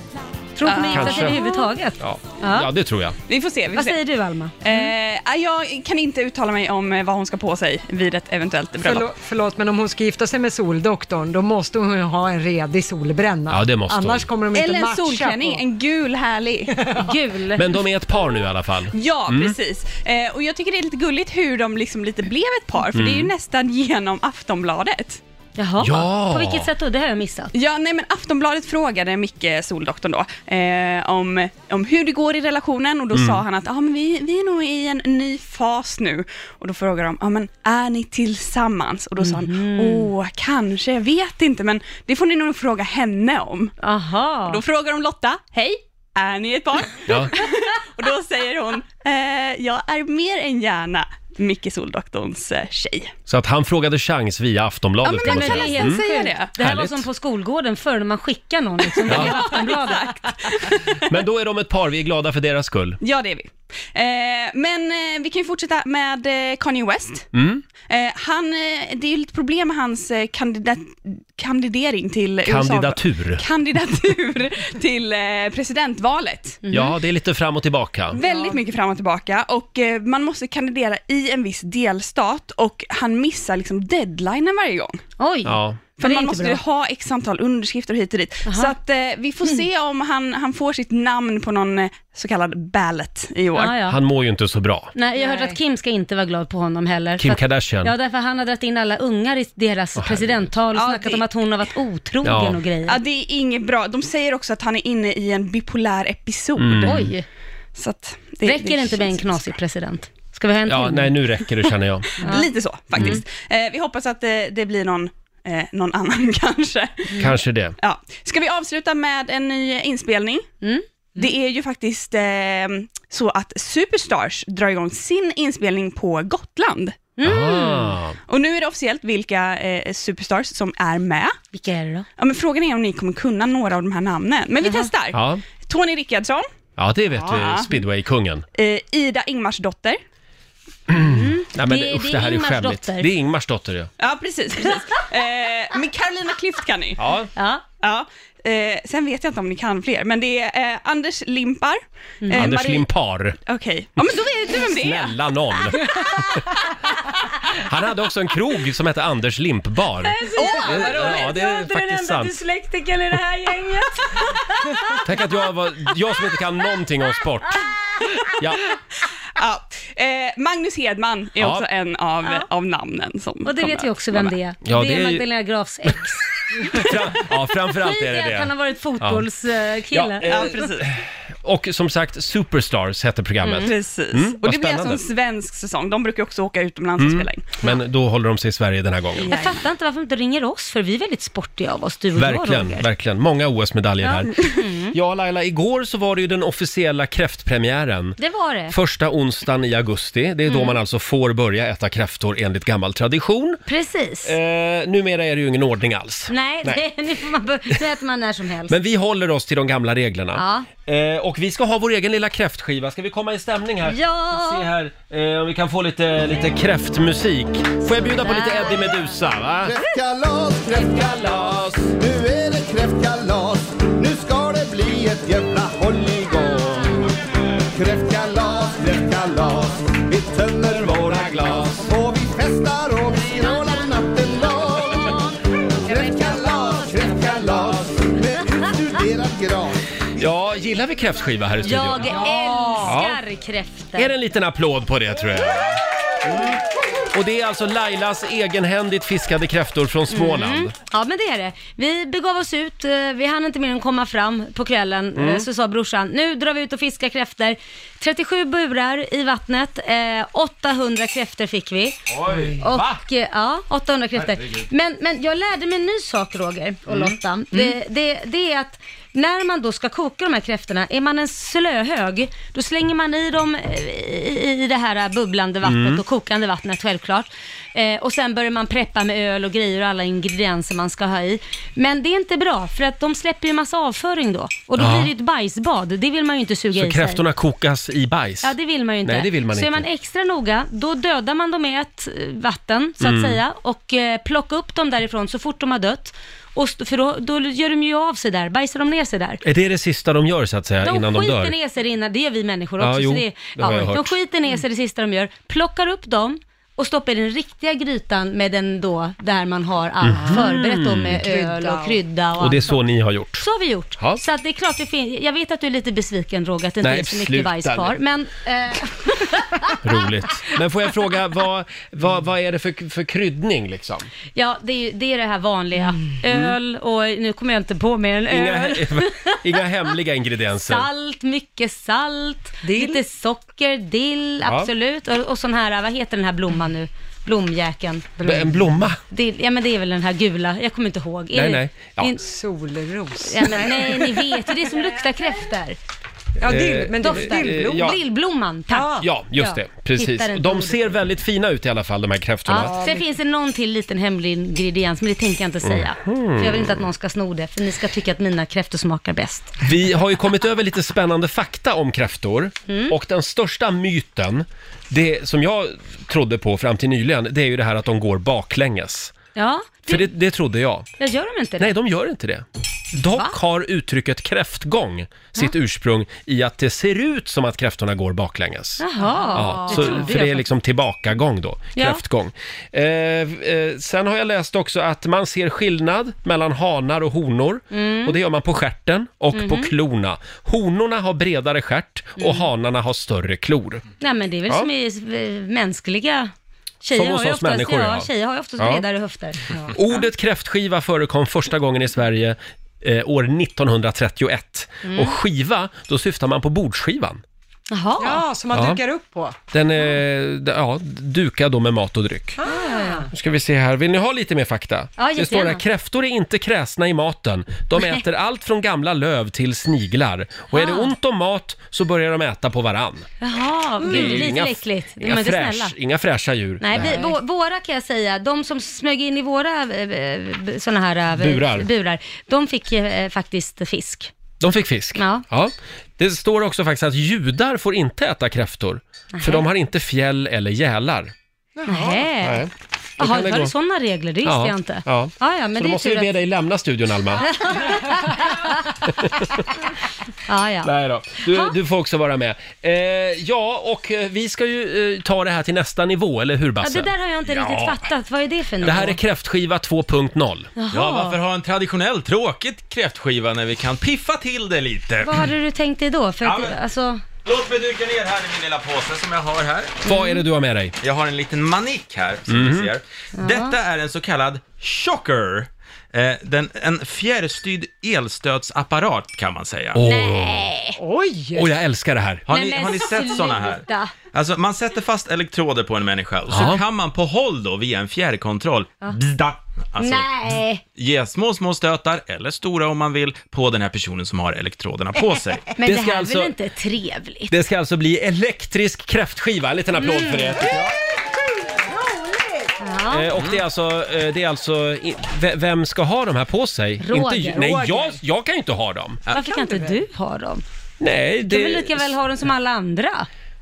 Speaker 4: Tror du att man gifter sig
Speaker 1: Kanske.
Speaker 4: överhuvudtaget?
Speaker 1: Ja,
Speaker 4: Ja.
Speaker 1: ja det tror jag.
Speaker 5: Vi får se. Vi får
Speaker 4: Vad
Speaker 5: se.
Speaker 4: säger du Alma?
Speaker 5: Eh, jag kan inte uttala mig om eh, vad hon ska på sig vid ett eventuellt bröllop.
Speaker 7: Förlåt, förlåt, men om hon ska gifta sig med soldoktorn, då måste hon ha en redig solbränna.
Speaker 1: Ja, det måste hon.
Speaker 7: Annars kommer de inte
Speaker 5: Eller en
Speaker 7: matcha
Speaker 5: solklänning,
Speaker 7: på.
Speaker 5: en gul härlig.
Speaker 4: Gul.
Speaker 1: Men de är ett par nu i alla fall.
Speaker 5: Ja,
Speaker 1: Mm.
Speaker 5: precis. Eh, och jag tycker det är lite gulligt hur de liksom lite blev ett par, för det är ju nästan genom Aftonbladet.
Speaker 4: Jaha.
Speaker 1: Ja.
Speaker 4: På vilket sätt då? Det har jag missat.
Speaker 5: Ja, nej men Aftonbladet frågade Micke Soldoktorn då eh, om, om hur det går i relationen och då sa han att ah, men vi, vi är nog i en ny fas nu. Och då frågade de, ah, men är ni tillsammans? Och då sa han, åh kanske, jag vet inte, men det får ni nog fråga henne om.
Speaker 4: Aha.
Speaker 5: Då frågar de Lotta, hej, är ni ett par?
Speaker 1: Ja.
Speaker 5: Och då säger hon, eh, jag är mer än gärna Micke Soldoktorns eh, tjej.
Speaker 1: Så att han frågade chans via Aftonbladet
Speaker 5: Ja, men
Speaker 1: kan man
Speaker 5: det
Speaker 1: säga.
Speaker 5: kan
Speaker 1: Mm.
Speaker 5: jag helt säga det.
Speaker 4: Det här
Speaker 1: Härligt.
Speaker 4: var som på skolgården förr när man skickar någon liksom. till Aftonbladet.
Speaker 1: Men då är de ett par, vi är glada för deras skull.
Speaker 5: Ja, det är vi. Eh, men eh, vi kan ju fortsätta med eh, Kanye West.
Speaker 1: Mm.
Speaker 5: Eh, han, eh, det är ju lite problem med hans eh, kandida- kandidering till
Speaker 1: Kandidatur.
Speaker 5: USA. Kandidatur till eh, presidentvalet.
Speaker 4: Mhm.
Speaker 1: Ja, det är lite fram och tillbaka.
Speaker 5: Väldigt mycket fram och tillbaka och eh, man måste kandidera i en viss delstat och han missar liksom deadlinen varje gång.
Speaker 4: Oj.
Speaker 1: Ja.
Speaker 5: För
Speaker 4: Det är
Speaker 5: man
Speaker 4: inte
Speaker 5: måste
Speaker 4: bra. Mm.
Speaker 5: ju ha x antal underskrifter hit och dit. Så att eh, vi får se om han, han får sitt namn på någon eh, så kallad ballot i år.
Speaker 4: Ja, ja.
Speaker 1: Han mår ju inte så bra.
Speaker 4: Nej, jag hörde att Kim ska inte vara glad på honom heller.
Speaker 1: Kim
Speaker 4: För att-
Speaker 1: Kardashian.
Speaker 4: Ja, därför han har dragit in alla ungar i deras presidenttal och
Speaker 5: Ja,
Speaker 4: snackat
Speaker 5: det-
Speaker 4: om att hon har varit otrogen
Speaker 1: Ja.
Speaker 4: och grejer.
Speaker 5: Ja, det är inget bra. De säger också att han är inne i en bipolär episod.
Speaker 1: Mm.
Speaker 4: Oj,
Speaker 5: Så att
Speaker 4: räcker det inte med en
Speaker 5: känns
Speaker 4: knasig president? Ska vi ha en
Speaker 1: Ja,
Speaker 4: till?
Speaker 1: nej nu räcker det känner jag.
Speaker 5: Lite så faktiskt. Eh, vi hoppas att eh, det blir någon, eh, någon annan kanske.
Speaker 1: Mm. Kanske det.
Speaker 5: Ja. Ska vi avsluta med en ny inspelning?
Speaker 4: Mm.
Speaker 5: Det är ju faktiskt eh, så att Superstars drar igång sin inspelning på Gotland.
Speaker 4: Mm.
Speaker 1: Ah.
Speaker 5: Och nu är det officiellt vilka eh, Superstars som är med.
Speaker 4: Vilka är det då?
Speaker 5: Ja, men frågan är om ni kommer kunna några av de här namnen. Men vi testar.
Speaker 1: Ja.
Speaker 5: Tony Rickardsson,
Speaker 1: ja, det vet
Speaker 5: Ja.
Speaker 1: vi, speedwaykungen.
Speaker 5: eh, Ida Ingmarsdotter, Mm.
Speaker 1: Nej, men
Speaker 4: Det-
Speaker 1: usch,
Speaker 4: det är
Speaker 1: det här är
Speaker 4: Ingmars
Speaker 1: skämmigt.
Speaker 4: dotter.
Speaker 1: Det är Ingmars dotter ja.
Speaker 5: Ja, precis. precis. eh, med Carolina Klüft kan ni.
Speaker 1: Ja,
Speaker 4: Ja,
Speaker 5: Ja. Eh, sen vet jag inte om ni kan fler, men det är eh, Anders Limpar.
Speaker 4: Mm.
Speaker 5: Eh,
Speaker 1: Anders
Speaker 5: Marie-
Speaker 1: Limpar.
Speaker 5: Okej. Ja, men då vet du vem det är.
Speaker 1: Snälla nån. Han hade också en krog som hette Anders Limpbar.
Speaker 5: Åh, vad roligt.
Speaker 1: Ja, det är faktiskt sant.
Speaker 4: dyslektikern i det här gänget.
Speaker 1: Tänk att jag var, jag som inte kan någonting om sport. Ja,
Speaker 5: Ja. Eh, Magnus Hedman är
Speaker 1: Ja.
Speaker 5: också en av, av namnen som
Speaker 4: Och det
Speaker 5: kommer
Speaker 4: vet vi
Speaker 5: att
Speaker 4: också
Speaker 5: vara
Speaker 4: vem
Speaker 5: med.
Speaker 4: det är.
Speaker 1: Ja,
Speaker 4: det
Speaker 1: det
Speaker 4: är
Speaker 1: är ju-
Speaker 4: Magdalena Grafs ex.
Speaker 1: fram, ja framförallt är det
Speaker 4: Tidigare kan ha
Speaker 1: det.
Speaker 4: varit
Speaker 1: Ja,
Speaker 4: fotbollskille.
Speaker 1: eh,
Speaker 5: Ja, Mm. precis.
Speaker 1: och som sagt, Superstars hette programmet.
Speaker 5: precis.
Speaker 1: Mm,
Speaker 5: och
Speaker 1: vad
Speaker 5: det blir alltså en
Speaker 1: spännande. Mm,
Speaker 5: svensk säsong. De brukar ju också åka utomlands och spela in.
Speaker 1: Men då håller de sig i Sverige den här gången.
Speaker 4: Jag fattar inte varför de inte ringer oss, för vi är väldigt sportiga av oss, du och
Speaker 1: Verkligen,
Speaker 4: jag Roger.
Speaker 1: verkligen. Många OS-medaljer här. Ja, Laila, igår så var det ju den officiella kräftpremiären.
Speaker 4: Det var det.
Speaker 1: Första onsdagen i augusti, det är då man alltså får börja äta kräftor enligt gammal tradition.
Speaker 4: Precis.
Speaker 1: Eh, numera är det ju ingen ordning alls.
Speaker 4: Nej,
Speaker 1: nej.
Speaker 4: Det, nu, får man, bör- nu äter man när som helst.
Speaker 1: Men vi håller oss till de gamla reglerna.
Speaker 4: Ja.
Speaker 1: Eh, och vi ska ha vår egen lilla kräftskiva. Ska vi komma i stämning här?
Speaker 4: Ja.
Speaker 1: Se här eh, om vi kan få lite, lite kräftmusik. Får jag bjuda på lite
Speaker 4: Där.
Speaker 1: Eddie Meduza, va?
Speaker 6: Kräftkalas, kräftkalas, nu är det kräftkalas. Nu ska det bli ett jävla hålligång. Kräftkalas, kräftkalas, vi tömmer våra glas. Och vi festar och vi skrålar natten lång. Kräftkalas, kräftkalas, med utstuderat gras.
Speaker 1: Ja, gillar vi kräftskiva här i studion?
Speaker 4: Jag älskar kräftor.
Speaker 1: Är det en liten applåd på det tror jag? Mm. Och det är alltså Lailas egenhändigt fiskade kräftor från
Speaker 4: Mm.
Speaker 1: Småland.
Speaker 4: Ja, men det är det. Vi begav oss ut, eh, vi hann inte mer än komma fram på kvällen. Eh, Så sa brorsan, nu drar vi ut och fiskar kräftor. 37 burar i vattnet, eh, 800 kräftor fick vi.
Speaker 1: Oj,
Speaker 4: Och,
Speaker 1: va?
Speaker 4: eh, ja, 800 kräftor. Men, men jag lärde mig en ny sak Roger och
Speaker 1: Mm.
Speaker 4: Lotta. Det, det, det är att när man då ska koka de här kräftorna, är man en slöhög, då slänger man i dem eh, i, i det här bubblande vattnet och kokande vattnet självklart. Eh, och sen börjar man preppa med öl och grejer och alla ingredienser man ska ha i. Men det är inte bra, för att de släpper ju massa avföring då. Och då
Speaker 1: Ja.
Speaker 4: blir det ju ett bajsbad, det vill man ju inte suga
Speaker 1: Så
Speaker 4: i sig.
Speaker 1: kräftorna kokas i bajs?
Speaker 4: Ja, det vill man ju inte.
Speaker 1: Nej, det vill man
Speaker 4: så är
Speaker 1: inte.
Speaker 4: man extra noga, då dödar
Speaker 1: Mm.
Speaker 4: man dem med ett eh, vatten, så att säga, och eh, plockar upp dem därifrån så fort de har dött. Och st- för då, då gör de ju av sig där, bajsar de ner sig där.
Speaker 1: Är det det sista de gör så att säga innan de dör?
Speaker 4: skiter ner sig innan, det gör vi människor också.
Speaker 1: Ja, jo,
Speaker 4: så det,
Speaker 1: det har jag
Speaker 4: de
Speaker 1: hört.
Speaker 4: skiter ner sig det sista de gör, plockar upp dem och stoppar i den riktiga grytan med den då, där man har allt
Speaker 1: Mhm.
Speaker 4: förberett då med
Speaker 1: Krydda
Speaker 4: öl
Speaker 1: och-
Speaker 4: och krydda och,
Speaker 1: Och det är
Speaker 4: allt
Speaker 1: så
Speaker 4: sånt.
Speaker 1: ni har gjort?
Speaker 4: Så har vi gjort.
Speaker 1: Ja.
Speaker 4: Så att det är klart det finns, jag vet att du är lite besviken Roger att det inte
Speaker 1: Nej,
Speaker 4: är så mycket
Speaker 1: sluta
Speaker 4: bajs
Speaker 1: nu.
Speaker 4: kvar. Men eh,
Speaker 1: Roligt. Men får jag fråga, vad, vad, vad är det för, för kryddning liksom?
Speaker 4: ja, det är, ju- det är det här vanliga.
Speaker 1: Mm.
Speaker 4: Öl och nu kommer jag inte på mer än
Speaker 1: Inga,
Speaker 4: öl.
Speaker 1: he- inga hemliga ingredienser?
Speaker 4: Salt, mycket salt, lite socker, dill,
Speaker 1: Ja.
Speaker 4: absolut. Och, och sån här, vad heter den här blomman nu? Blomjäkeln.
Speaker 1: B- En blomma?
Speaker 4: Dill, ja men det är väl den här gula, jag kommer inte ihåg. Är
Speaker 1: Nej,
Speaker 4: det-
Speaker 1: nej. Ja.
Speaker 4: in-
Speaker 7: Solros.
Speaker 4: Ja, men, nej, ni vet ju, det är som luktar kräftor.
Speaker 1: Ja, dill- men Eh,
Speaker 4: Doftar.
Speaker 1: dillblom. eh, ja.
Speaker 4: Dillblomman, tack.
Speaker 1: Ja, just
Speaker 4: Ja.
Speaker 1: det. Precis.
Speaker 4: Hittar inte
Speaker 1: De
Speaker 4: ordet.
Speaker 1: ser väldigt fina ut i alla fall, de här kräftorna.
Speaker 4: Ja, sen finns det någon till liten hemlig ingrediens, men det tänker jag inte säga.
Speaker 1: Mhm.
Speaker 4: För jag vill inte att någon ska sno det, för ni ska tycka att mina kräftor smakar bäst.
Speaker 1: Vi har ju kommit över lite spännande fakta om kräftor.
Speaker 4: Mm.
Speaker 1: Och den största myten, det som jag trodde på fram till nyligen, det är ju det här att de går baklänges.
Speaker 4: Ja,
Speaker 1: För det, det trodde jag.
Speaker 4: jag gör de inte det?
Speaker 1: Nej, de gör inte det. Dock
Speaker 4: Va?
Speaker 1: har uttrycket kräftgång sitt ursprung i att det ser ut som att kräftorna går baklänges.
Speaker 4: Jaha,
Speaker 1: Ja,
Speaker 4: det
Speaker 1: så,
Speaker 4: trodde
Speaker 1: för
Speaker 4: jag
Speaker 1: det är liksom tillbakagång då,
Speaker 4: Ja.
Speaker 1: kräftgång. Eh, eh, sen har jag läst också att man ser skillnad mellan hanar och honor.
Speaker 3: Mm.
Speaker 1: Och det gör man på stjärten och på
Speaker 4: Mhm.
Speaker 1: klorna. Honorna har bredare stjärt och
Speaker 4: Mm.
Speaker 1: hanarna har större klor.
Speaker 4: Nej men det är väl
Speaker 1: Ja.
Speaker 4: som i eh, mänskliga... Tjejer
Speaker 1: Som hos
Speaker 4: har ju
Speaker 1: oss
Speaker 4: oftast,
Speaker 1: människor, ja.
Speaker 4: ja. Tjejer har ju oftast
Speaker 1: Ja.
Speaker 4: bredare höfter.
Speaker 1: Mm. Ordet kräftskiva förekom första gången i Sverige eh, år 1931.
Speaker 4: Mm.
Speaker 1: Och skiva, då syftar man på bordsskivan.
Speaker 4: Jaha.
Speaker 7: Ja, som man
Speaker 1: Ja.
Speaker 7: dukar upp på.
Speaker 1: Den är d- ja, dukad då med mat och dryck.
Speaker 7: Ah, ja,
Speaker 1: Nu ska vi se här, vill ni ha lite mer fakta?
Speaker 7: Ja,
Speaker 1: det står
Speaker 7: jättegärna.
Speaker 1: här, kräftor är inte kräsna i maten. De
Speaker 4: Nej.
Speaker 1: äter allt från gamla löv till sniglar. Och är det
Speaker 4: Ah.
Speaker 1: ont om mat så börjar de äta på varann.
Speaker 4: Jaha,
Speaker 1: Det är
Speaker 4: gud, lite
Speaker 1: inga-
Speaker 4: äckligt. De är
Speaker 1: Inga,
Speaker 4: inte
Speaker 1: fräsch,
Speaker 4: snälla.
Speaker 1: inga fräscha djur.
Speaker 4: Nej,
Speaker 1: det
Speaker 4: vi,
Speaker 1: här.
Speaker 4: vå- våra kan jag säga, de som smög in i våra sådana här eh,
Speaker 1: Burar.
Speaker 4: burar, de fick eh, faktiskt fisk.
Speaker 1: De fick fisk.
Speaker 4: Ja.
Speaker 1: Det står också faktiskt att judar får inte äta kräftor, för
Speaker 4: Nähä.
Speaker 1: de har inte fjäll eller gälar.
Speaker 4: Nähä.
Speaker 1: Då kan
Speaker 4: Jaha,
Speaker 1: det
Speaker 4: var
Speaker 1: gå.
Speaker 4: det sådana regler? Det visste jag inte.
Speaker 1: Ja.
Speaker 4: Ja, ja, men
Speaker 1: så
Speaker 4: det
Speaker 1: då
Speaker 4: är
Speaker 1: måste vi
Speaker 4: tur
Speaker 1: be
Speaker 4: att-
Speaker 1: dig lämna studion, Alma.
Speaker 4: ja, ja.
Speaker 1: Nej då. Du, du får också vara med. Eh, ja, och eh, vi ska ju eh, ta det här till nästa nivå, eller hur
Speaker 4: ja,
Speaker 1: Basse?
Speaker 4: det där har jag inte
Speaker 1: Ja.
Speaker 4: riktigt fattat. Vad är det för
Speaker 1: Det här är
Speaker 4: nivå?
Speaker 1: kräftskiva 2.0.
Speaker 4: Jaha. Ja, varför
Speaker 1: ha en traditionell tråkigt kräftskiva när vi kan piffa till det lite?
Speaker 4: Vad hade du tänkt dig då? För att,
Speaker 10: Ja, men-
Speaker 4: alltså,
Speaker 10: Låt mig dyka ner här i min lilla påse som jag har här.
Speaker 1: Vad är det du har med dig?
Speaker 10: Jag har en liten manik här som
Speaker 1: Mhm.
Speaker 10: ni ser. Detta är en så kallad chocker. Eh, den, en fjärrstyrd elstödsapparat kan man säga.
Speaker 1: Åh.
Speaker 4: Nej!
Speaker 7: Oj!
Speaker 1: Åh, jag älskar det här.
Speaker 10: Har
Speaker 4: Nej,
Speaker 10: ni,
Speaker 4: men
Speaker 10: har ni sett sådana här?
Speaker 4: sluta.
Speaker 10: Alltså man sätter fast elektroder på en människa och så
Speaker 4: Ja.
Speaker 10: kan man på håll då via en fjärrkontroll
Speaker 4: Ja.
Speaker 10: bzda, alltså,
Speaker 4: Nej!
Speaker 10: ge små, små stötar, eller stora om man vill, på den här personen som har elektroderna på sig.
Speaker 4: Men det, här är väl inte trevligt?
Speaker 1: alltså- Det ska alltså bli elektrisk kräftskiva. En liten applåd för det.
Speaker 4: Mm. Ja.
Speaker 1: Eh, och det är alltså, eh, det är alltså i- ve- vem ska ha de här på sig?
Speaker 4: Roger.
Speaker 1: Inte, ju- nej,
Speaker 4: Roger.
Speaker 1: jag, jag kan ju inte ha dem.
Speaker 4: Varför kan inte du ha dem?
Speaker 1: Nej,
Speaker 4: Du vill
Speaker 1: det...
Speaker 4: lika väl ha dem som alla andra.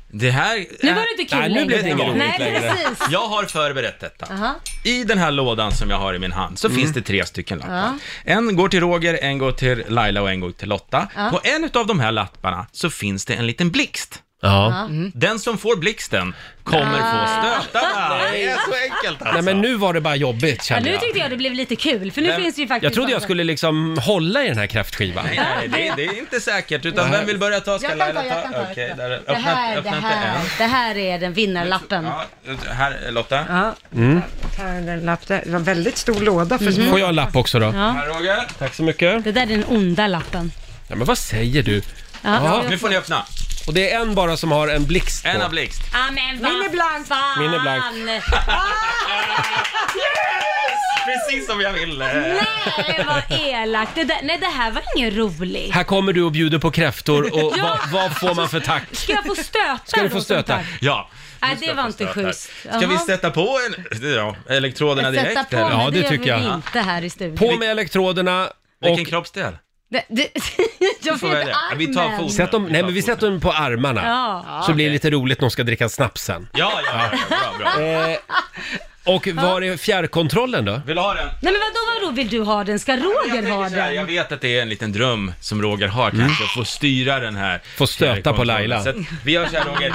Speaker 10: Det här...
Speaker 4: Nu var det inte kul
Speaker 10: Nej, nu blev det
Speaker 4: längre.
Speaker 10: inget roligt
Speaker 4: Nej,
Speaker 10: längre.
Speaker 4: precis.
Speaker 10: Jag har förberett detta.
Speaker 4: Aha.
Speaker 10: I den här lådan som jag har i min hand så
Speaker 1: Mm.
Speaker 10: finns det tre stycken lappar.
Speaker 4: Ja.
Speaker 10: En går till Roger, en går till Laila och en går till Lotta.
Speaker 4: Ja.
Speaker 10: På en av de här lapparna så finns det en liten blixt.
Speaker 1: Ja. Mm.
Speaker 10: Den som får blixten kommer
Speaker 4: Ah.
Speaker 10: få stötarna.
Speaker 1: Nej.
Speaker 10: Det är så enkelt alltså.
Speaker 1: Nej, men nu var det bara jobbigt
Speaker 4: Ja,
Speaker 1: kände
Speaker 4: nu
Speaker 1: jag.
Speaker 4: tyckte jag det blev lite kul, för nu
Speaker 1: Nej,
Speaker 4: finns det ju faktiskt...
Speaker 1: Jag trodde jag
Speaker 4: något.
Speaker 1: skulle liksom hålla i den här kräftskivan.
Speaker 10: Nej, nej, det, det är inte säkert, utan vem vill börja ta? Ska
Speaker 4: Jag kan ta,
Speaker 10: Laila
Speaker 4: jag kan ta.
Speaker 10: ta? Okej, där,
Speaker 4: Det
Speaker 10: öppna,
Speaker 4: här, det
Speaker 10: öppna inte
Speaker 4: här, det här är den vinnarlappen.
Speaker 10: än. Här, Lotta.
Speaker 7: Ja. Här är en lapp där. Det var en väldigt stor låda för små.
Speaker 1: Mm. Får jag en lapp också då?
Speaker 4: Mhm. Ja.
Speaker 10: Här Roger.
Speaker 1: Tack så mycket.
Speaker 4: Det där är den onda lappen.
Speaker 1: Ja, men vad säger du?
Speaker 4: Ja.
Speaker 10: Nu får ni öppna.
Speaker 1: Och det är en bara som har en blixt på.
Speaker 10: En har blixt.
Speaker 4: Ah, men vad Minne blank. fan!
Speaker 1: Minne blank.
Speaker 10: Precis som jag ville.
Speaker 4: Nej, vad elakt. Det där, nej, det här var ingen roligt.
Speaker 1: Här kommer du och bjuder på kräftor och
Speaker 4: Ja.
Speaker 1: vad, vad får man för tack?
Speaker 4: Ska jag få stötar
Speaker 1: Ska du
Speaker 4: då
Speaker 1: få
Speaker 4: som
Speaker 1: stöta?
Speaker 4: tack?
Speaker 10: Ja.
Speaker 4: Nej, det var inte
Speaker 10: Stötar.
Speaker 4: schysst.
Speaker 10: Ska vi sätta på en, ja, elektroderna
Speaker 4: Sätta
Speaker 10: direkt?
Speaker 4: på,
Speaker 10: eller?
Speaker 4: men det, gör vi inte här i studion.
Speaker 1: På med elektroderna
Speaker 10: Vilken kroppsdel?
Speaker 4: Det, det, jag får inte armen.
Speaker 1: Sätt dem, nej men vi sätter dem på armarna.
Speaker 4: Ja.
Speaker 1: Så blir det lite roligt när de ska dricka snapsen.
Speaker 10: Ja, ja, ja, bra, bra.
Speaker 1: Och var är fjärrkontrollen då?
Speaker 10: Vill du ha den?
Speaker 4: Nej men vadå, vadå vill du ha den? Ska Roger ha
Speaker 10: Så här, Jag
Speaker 4: den? Mm.
Speaker 10: vet att det är en liten dröm som Roger har kanske, att få styra den här.
Speaker 1: Få stöta på Laila.
Speaker 10: Så att vi gör så här Roger,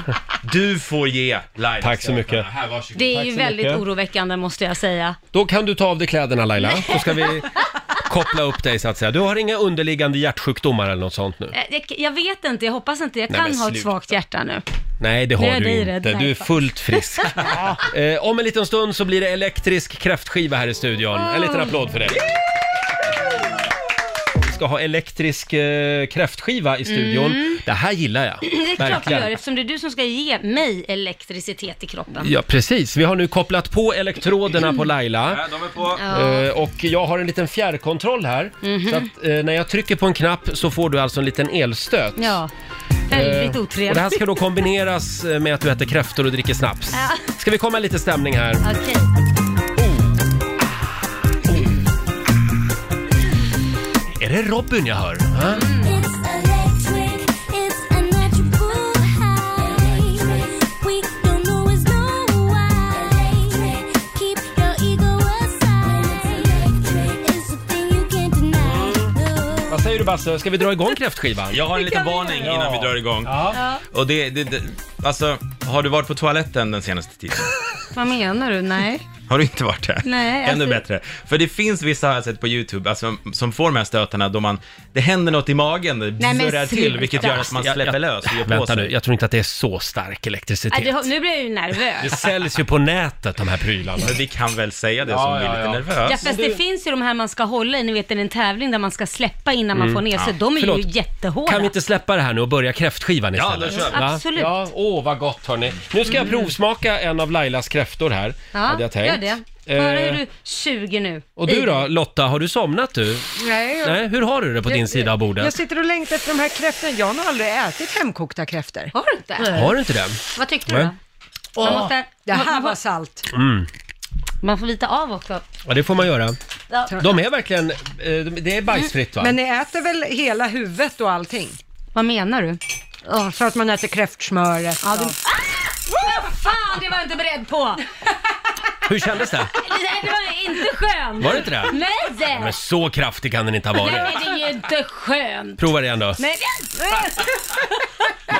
Speaker 10: du får ge Laila
Speaker 1: Tack så mycket.
Speaker 10: Här, varsågod.
Speaker 4: Det är
Speaker 1: Tack
Speaker 4: ju
Speaker 1: så
Speaker 4: väldigt
Speaker 1: mycket.
Speaker 4: oroväckande måste jag säga.
Speaker 1: Då kan du ta av dig kläderna Laila, så ska vi koppla upp dig så att säga. Du har inga underliggande hjärtsjukdomar eller något sånt nu?
Speaker 4: Eh, Jag, jag vet inte, jag hoppas inte. Jag
Speaker 1: Nej,
Speaker 4: kan
Speaker 1: men
Speaker 4: ha ett
Speaker 1: sluta.
Speaker 4: svagt hjärta nu.
Speaker 1: Nej, det har
Speaker 4: Nu är jag
Speaker 1: du
Speaker 4: dig
Speaker 1: inte.
Speaker 4: rädd,
Speaker 1: du är
Speaker 4: Laila.
Speaker 1: fullt frisk. eh, om en liten stund så blir det elektrisk kräftskiva här i studion. En liten applåd för det. Vi ska ha elektrisk eh, kräftskiva i studion. Det här gillar jag.
Speaker 4: Mm. Det är klart du gör eftersom det är du som ska ge mig elektricitet i kroppen.
Speaker 1: Ja, precis. Vi har nu kopplat på elektroderna på Laila.
Speaker 10: Ja, de är på.
Speaker 4: Ja. Mhm.
Speaker 1: Eh, Och jag har en liten fjärrkontroll här. Så att eh, när jag trycker på en knapp så får du alltså en liten elstöt.
Speaker 4: Ja, väldigt
Speaker 1: Eh, Och det här
Speaker 4: otrevligt.
Speaker 1: ska då kombineras eh, med att du äter kräftor och dricker snaps.
Speaker 4: Ja.
Speaker 1: Ska vi komma i lite stämning här?
Speaker 4: Okej.
Speaker 1: Är det Robin jag hör? Ja. Vad säger du Basse, ska vi dra igång kräftskivan?
Speaker 10: Jag har en liten varning innan vi drar igång. Och det, det, det, alltså, har du varit på toaletten den senaste tiden?
Speaker 4: Vad menar du? Nej.
Speaker 10: Har du inte varit det?
Speaker 4: Nej,
Speaker 10: Ännu
Speaker 4: alltså-
Speaker 10: bättre. För det finns vissa har jag sett på YouTube alltså, som får de här stötarna då man, det händer något i magen, det
Speaker 4: Nej, men
Speaker 10: surrar till,
Speaker 4: sluta.
Speaker 10: vilket gör att man
Speaker 1: Jag-
Speaker 10: släpper
Speaker 1: jag-
Speaker 10: lös och gör på
Speaker 1: Vänta
Speaker 10: sig.
Speaker 1: nu, jag tror inte att det är så stark
Speaker 4: Äh,
Speaker 1: elektricitet.
Speaker 4: det, nu blir jag ju
Speaker 1: Det
Speaker 4: nervös.
Speaker 1: säljs ju på nätet de här prylarna.
Speaker 10: Men vi kan väl säga det
Speaker 1: Ja,
Speaker 10: som blir
Speaker 1: ja,
Speaker 10: lite
Speaker 1: ja.
Speaker 10: nervös.
Speaker 4: Ja, fast det finns ju de här man ska hålla i, ni vet i en tävling där man ska släppa innan man får ner sig. De är
Speaker 1: Mm. Förlåt.
Speaker 4: ju jättehårda.
Speaker 1: Kan vi inte släppa det här nu och börja kräftskivan
Speaker 10: Ja,
Speaker 1: istället?
Speaker 10: då kör vi.
Speaker 1: Va?
Speaker 4: Absolut. Mm.
Speaker 1: Ja, åh vad gott hörni. Nu ska jag provsmaka en av Lailas kräftor här,
Speaker 4: Ja,
Speaker 1: hade jag tänkt.
Speaker 4: gör det. Mm. Bara
Speaker 1: Eh,
Speaker 4: hur du suger nu.
Speaker 1: Och du då Lotta, har du somnat du?
Speaker 7: Nej, jag,
Speaker 1: Nej, hur har du det på din sida av
Speaker 7: jag
Speaker 1: bordet?
Speaker 7: sitter och längtar efter de här kräftorna. Jag har nog aldrig ätit hemkokta kräftor.
Speaker 4: Har du inte?
Speaker 1: Har du inte det?
Speaker 4: Vad tyckte du
Speaker 1: Nej.
Speaker 4: då? Man, måste,
Speaker 7: Det
Speaker 4: man,
Speaker 7: här
Speaker 4: man,
Speaker 7: var
Speaker 4: får,
Speaker 7: salt.
Speaker 4: man får vita av också.
Speaker 1: Mm. Ja, det får man göra.
Speaker 4: Ja.
Speaker 1: De är verkligen, eh, de- det är bajsfritt va?
Speaker 4: Mm,
Speaker 7: Men ni äter väl hela huvudet och allting?
Speaker 4: Vad menar du?
Speaker 7: Ja, så att man äter kräftsmöret.
Speaker 4: Ja, du... Ah! Vad Fan, det var jag inte beredd på!
Speaker 1: Hur kändes det?
Speaker 4: Nej, det var inte skönt!
Speaker 1: Var det inte det?
Speaker 4: Nej!
Speaker 1: Men så kraftig kan den inte ha
Speaker 4: Nej,
Speaker 1: varit.
Speaker 4: det är ju inte skönt!
Speaker 1: Prova det igen då.
Speaker 4: Nej, det-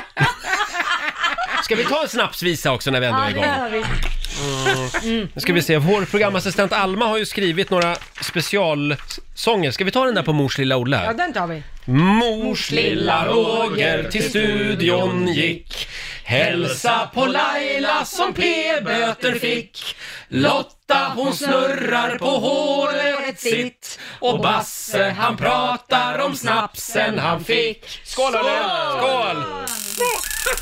Speaker 1: Ska vi ta en snapsvisa också när vi ändå är
Speaker 4: ja, det
Speaker 1: igång?
Speaker 4: gör vi.
Speaker 1: Mm. Nu ska vi se, vår programassistent Alma har ju skrivit några specialsånger. Ska vi ta den där på Mors lilla Olle?
Speaker 7: Ja, den tar vi.
Speaker 1: Mors lilla Roger till studion gick Hälsa på Laila som p-böter fick Lotta hon snurrar på håret sitt Och Basse han pratar om snapsen han fick Skål Skål! Skål!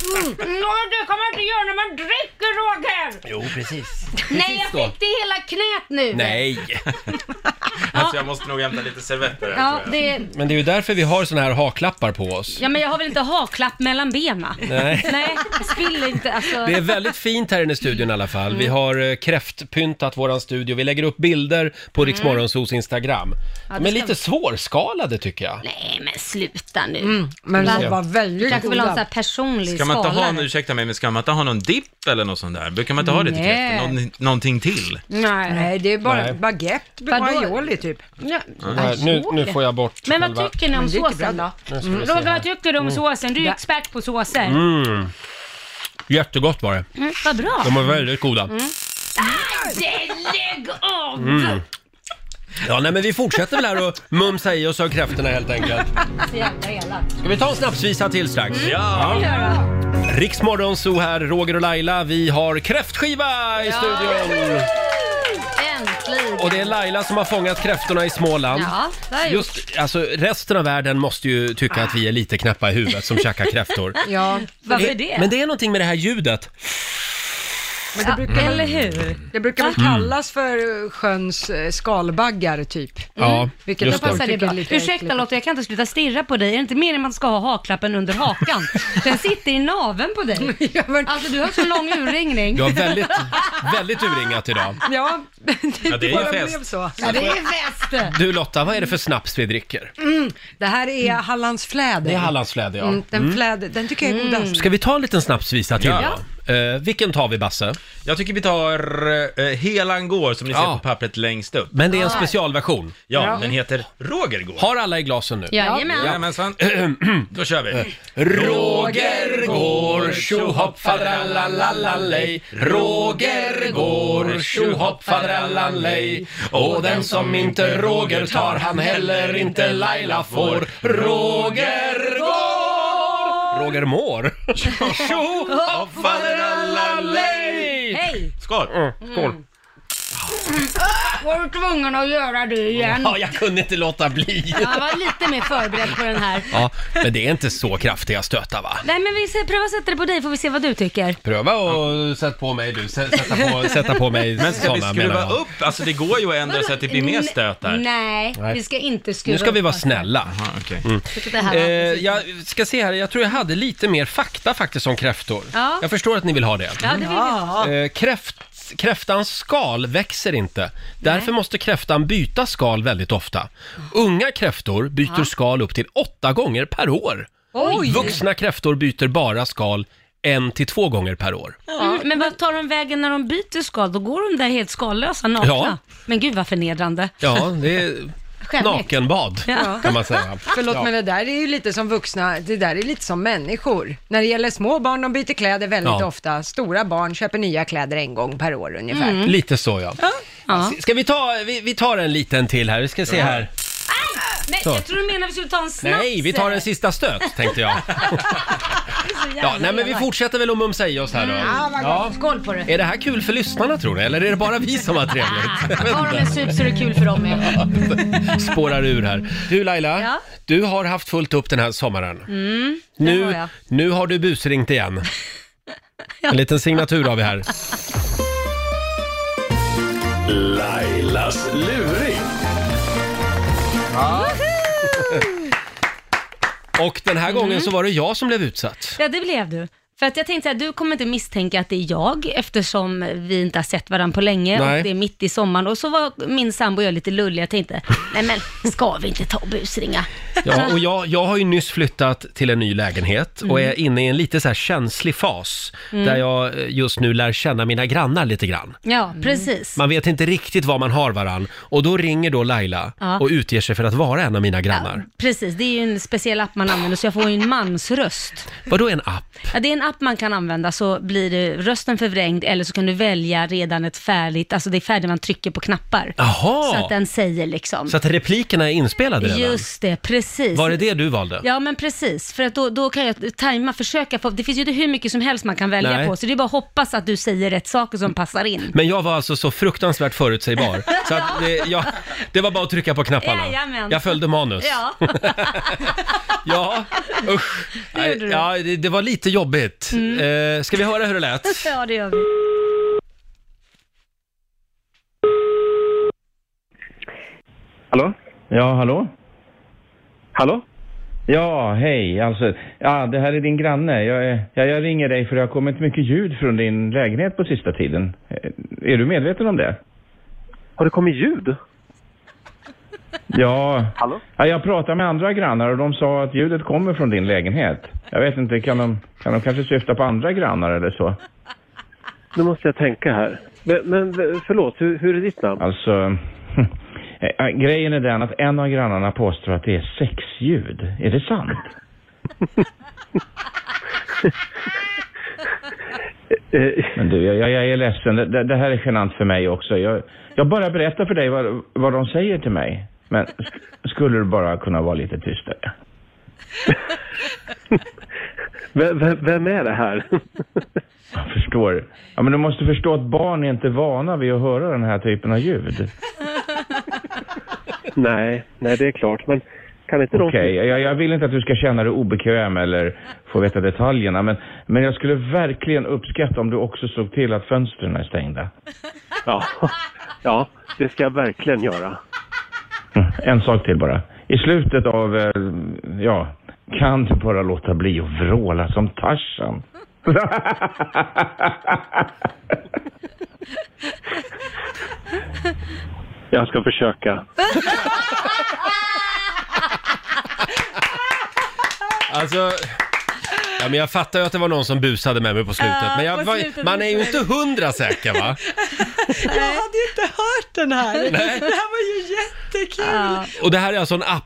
Speaker 4: Nå, det kan man inte göra när man dricker, Roger!
Speaker 1: Jo, precis.
Speaker 4: Nej, jag
Speaker 1: då.
Speaker 4: fick det i hela knät nu!
Speaker 1: Nej,
Speaker 10: Alltså jag måste nog hämta lite servetter här,
Speaker 4: Ja,
Speaker 10: tror jag.
Speaker 4: det...
Speaker 1: men det är ju därför vi har såna här haklappar på oss.
Speaker 4: Ja, men jag har väl inte haklapp mellan benen?
Speaker 1: Nej.
Speaker 4: Nej, spill inte alltså.
Speaker 1: Det är väldigt fint här inne i studion i alla fall. Vi har eh, kräftpyntat våran studio. Vi lägger upp bilder på Rix Morgonzos Instagram. De är
Speaker 4: Mm. ska
Speaker 1: lite svårskalade tycker jag.
Speaker 4: Nej, men sluta nu.
Speaker 7: Mm, Men
Speaker 4: Va?
Speaker 7: de var
Speaker 4: Du
Speaker 7: väldigt
Speaker 4: kanske vill ha en sån
Speaker 7: goda.
Speaker 4: här personlig
Speaker 10: Ska man inte
Speaker 4: skala
Speaker 10: ha,
Speaker 4: nu?
Speaker 10: nu, ursäkta mig, men ska man inte ha någon dipp eller något sånt där? Brukar man inte ha det till
Speaker 7: Nej.
Speaker 10: kräftor? Någon, någonting till?
Speaker 4: Nej.
Speaker 7: Nej, det är bara
Speaker 1: Nej.
Speaker 7: baguette,
Speaker 4: Vadå?
Speaker 7: aioli typ.
Speaker 4: Ja,
Speaker 1: Nej, nu, nu får jag bort
Speaker 4: Men
Speaker 1: själva-
Speaker 4: vad tycker ni om
Speaker 7: det är inte
Speaker 4: såsen då?
Speaker 7: bra. Mm.
Speaker 4: Mm. Roger, vad tycker du om såsen? Du är ju expert på såser.
Speaker 1: Mm. Jättegott var det.
Speaker 4: Mm, vad bra.
Speaker 1: De
Speaker 4: Mm.
Speaker 1: var väldigt goda.
Speaker 4: Nej, lägg av!
Speaker 1: Mm. Ja, nej, men vi fortsätter väl här och mumsa i oss av kräftorna helt enkelt.
Speaker 4: Så jävla elakt.
Speaker 1: Ska vi ta en snapsvisa till strax?
Speaker 10: Ja!
Speaker 1: Rix Morgonzoo här, Roger och Laila. Vi har kräftskiva i studion!
Speaker 4: Äntligen.
Speaker 1: Och det är Laila som har fångat kräftorna i Småland.
Speaker 4: Ja, det har jag gjort.
Speaker 1: Just, alltså resten av världen måste ju tycka att vi är lite knäppa i huvudet som käkar kräftor. Eh,
Speaker 7: Ja,
Speaker 4: Varför det?
Speaker 1: Men det är någonting med det här ljudet.
Speaker 4: ja,
Speaker 1: Mm.
Speaker 4: Eller hur?
Speaker 7: det brukar väl kallas för eh, sjöns eh, skalbaggar typ.
Speaker 1: Ja,
Speaker 7: Vilket
Speaker 1: Mm. just
Speaker 7: jag
Speaker 1: det.
Speaker 4: Passar det
Speaker 7: tycker
Speaker 4: bra?
Speaker 7: är lite
Speaker 4: Ursäkta
Speaker 7: äckligt.
Speaker 4: Lotta, jag kan inte sluta stirra på dig. Är det inte meningen att man ska ha haklappen under hakan? Den sitter i naven på dig.
Speaker 7: Ja, men,
Speaker 4: Alltså du har så lång urringning.
Speaker 1: Du har väldigt, väldigt urringat idag.
Speaker 7: ja, det,
Speaker 10: Ja, det är ju
Speaker 7: bara
Speaker 10: fest.
Speaker 7: blev så.
Speaker 4: Ja, det är väste.
Speaker 1: Du Lotta, vad är det för snaps vi dricker?
Speaker 7: Mm. Det här är Hallands fläder.
Speaker 1: Mm. Det är Hallandsfläder ja. Mm.
Speaker 7: Mm, den, fläder, den tycker jag är godast.
Speaker 1: Ska vi ta en liten snapsvisa till
Speaker 10: Ja.
Speaker 1: då? Eh, vilken tar vi, Basse?
Speaker 10: Jag tycker vi tar eh, Helan går, som ni ser på pappret längst upp.
Speaker 1: Men det är en
Speaker 10: Ja.
Speaker 1: specialversion.
Speaker 10: Ja, den heter Roger går.
Speaker 1: Har alla i glasen nu?
Speaker 4: Jajamän.
Speaker 10: Jajamensan. Då kör vi.
Speaker 1: Roger går, tjohopp fadrallalallalej Roger går, tjohopp fadrallalej Och den som inte Roger tar, han heller inte Laila får Roger går! Roger mår? Tjohopp fadrallalej!
Speaker 4: Hej!
Speaker 10: Skål!
Speaker 1: Mm, Skål!
Speaker 4: Mm. Var du tvungen att göra det igen?
Speaker 1: Ja, jag kunde inte låta bli!
Speaker 4: Jag var lite mer förberedd på den här.
Speaker 1: Ja, men det är inte så kraftiga stötar va?
Speaker 4: Nej men vi ser, pröva att sätta det på dig får vi se vad du tycker.
Speaker 1: Pröva och sätt på mig du, Sä- sätta på, sätta på mig
Speaker 10: Men ska vi
Speaker 1: såna,
Speaker 10: skruva
Speaker 1: menar jag.
Speaker 10: upp? Alltså det går ju att ändra så att det blir mer stöt där.
Speaker 4: Nej,
Speaker 1: Nej.
Speaker 4: vi ska inte skruva
Speaker 1: Nu ska vi
Speaker 4: upp
Speaker 1: vara
Speaker 4: oss.
Speaker 1: snälla. Mm.
Speaker 4: Tycker det här var-
Speaker 1: Eh, jag ska se här, jag tror jag hade lite mer fakta faktiskt om kräftor.
Speaker 4: Ja.
Speaker 1: Jag förstår att ni vill ha det.
Speaker 4: Ja, det vill vi ha.
Speaker 1: Eh, kräft, kräftans skal växer inte. Därför måste kräftan byta skal väldigt ofta. Unga kräftor byter
Speaker 4: Ja.
Speaker 1: skal upp till åtta gånger per år.
Speaker 4: Oj.
Speaker 1: Vuxna kräftor byter bara skal en till två gånger per år.
Speaker 4: Mm, men vad tar de vägen när de byter skal? Då går de där helt skallösa nakna.
Speaker 1: Ja.
Speaker 4: Men gud vad förnedrande.
Speaker 1: Ja, det är
Speaker 4: Skämmigt.
Speaker 1: nakenbad
Speaker 7: Ja.
Speaker 1: kan man säga.
Speaker 7: Förlåt
Speaker 1: ja.
Speaker 7: men det där är ju lite som vuxna, det där är lite som människor. När det gäller små barn, de byter kläder väldigt
Speaker 1: Ja.
Speaker 7: ofta. Stora barn köper nya kläder en gång per år ungefär.
Speaker 1: Mm. Lite så ja.
Speaker 4: Ja.
Speaker 1: Ska vi ta, vi, vi tar en liten till här, vi ska se här.
Speaker 4: Nej,
Speaker 1: Så.
Speaker 4: jag tror du menar vi skulle ta en snaps.
Speaker 1: Nej, vi tar en sista stöt tänkte jag. Ja, nej men vi fortsätter väl att mumsa i oss här då.
Speaker 4: Mm, Ja, vad
Speaker 1: Ja.
Speaker 4: gott. Skål på det.
Speaker 1: Är det här kul för lyssnarna tror du, eller är det bara vi som har trevligt?
Speaker 4: Har de en sup så är det kul för dem. Ja.
Speaker 1: Spårar ur här. Du Laila,
Speaker 4: Ja.
Speaker 1: du har haft fullt upp den här sommaren.
Speaker 4: Mm, det har
Speaker 1: Nu,
Speaker 4: jag.
Speaker 1: nu har du busringt igen. En liten signatur har vi här.
Speaker 3: Lailas luring.
Speaker 1: Och den här
Speaker 4: Mm.
Speaker 1: gången så var det jag som blev utsatt.
Speaker 4: Ja, det blev du. För att jag tänkte att du kommer inte misstänka att det är jag eftersom vi inte har sett varandra på länge
Speaker 1: Nej.
Speaker 4: och det är mitt i sommaren. Och så var min sambo och jag lite lulliga och tänkte, nej men ska vi inte ta och busringa?
Speaker 1: Ja, och jag, jag har ju nyss flyttat till en ny lägenhet och är inne i en lite så här känslig fas
Speaker 4: Mm.
Speaker 1: där jag eh, just nu lär känna mina grannar lite grann.
Speaker 4: Ja, precis.
Speaker 1: Man vet inte riktigt vad man har varann och då ringer då Laila
Speaker 4: Ja.
Speaker 1: och utger sig för att vara en av mina grannar.
Speaker 4: Precis, det är ju en speciell app man använder så jag får ju en mansröst.
Speaker 1: Vadå en app?
Speaker 4: Ja, det är en app man kan använda så blir det rösten förvrängd eller så kan du välja redan ett färdigt, alltså det är färdigt man trycker på knappar.
Speaker 1: Jaha!
Speaker 4: Så att den säger liksom.
Speaker 1: Så att replikerna är inspelade redan?
Speaker 4: Just det, precis.
Speaker 1: Var det det du valde?
Speaker 4: Ja men precis, för att då, då kan jag tajma, försöka få, det finns ju inte hur mycket som helst man kan välja
Speaker 1: Nej.
Speaker 4: på, så det är bara att hoppas att du säger rätt saker som passar in.
Speaker 1: Men jag var alltså så fruktansvärt förutsägbar så att det, jag, det var bara att trycka på knapparna.
Speaker 4: Jajamän.
Speaker 1: Jag följde manus.
Speaker 4: Ja,
Speaker 1: Ja, usch. Nej, Ja, det, det var lite jobbigt. Eh, ska vi höra hur det lät?
Speaker 4: ja det gör vi.
Speaker 11: Hallå? Ja, hallå? Hallå? Ja, hej. Alltså, ja, det här är din granne. Jag, är- jag, jag ringer dig för det har kommit mycket ljud från din lägenhet på sista tiden. Eh, Är du medveten om det? Har det kommit ljud? Ja. Hallå? ja, jag pratade med andra grannar och de sa att ljudet kommer från din lägenhet. Jag vet inte, kan de, kan de kanske syfta på andra grannar eller så?
Speaker 12: Nu måste jag tänka här. Men, men förlåt, hur, hur är ditt namn?
Speaker 11: Alltså, eh, grejen är den att en av grannarna påstår att det är sexljud. Är det sant? Men du, jag, jag- jag är ledsen. Det- Det, det här är genant för mig också. Jag, jag bara berättar för dig vad, vad de säger till mig. Men sk- skulle du bara kunna vara lite tystare?
Speaker 12: Vem, vem, vem är det här?
Speaker 11: Jag förstår. Ja, men du måste förstå att barn är inte vana vid att höra den här typen av ljud.
Speaker 12: nej, nej det är klart. Men kan inte
Speaker 11: Okej,
Speaker 12: någon...
Speaker 11: jag, jag vill inte att du ska känna dig obekväm eller få veta detaljerna, men, men jag skulle verkligen uppskatta om du också såg till att fönstren är stängda.
Speaker 12: Ja. ja, det ska jag verkligen göra.
Speaker 11: Mm, En sak till bara. I slutet av, eh, ja, kan du bara låta bli att vråla som Tarzan?
Speaker 12: Jag ska försöka.
Speaker 1: Alltså, Ja, men jag fattar ju att det var någon som busade med mig på slutet,
Speaker 7: Ja,
Speaker 1: men jag,
Speaker 7: på
Speaker 1: var,
Speaker 7: slutet
Speaker 1: man är ju
Speaker 7: busade
Speaker 1: inte hundra säker va?
Speaker 7: Jag hade ju inte hört den här.
Speaker 1: Nej.
Speaker 7: Det här var ju jättekul.
Speaker 1: Och det här är alltså en app?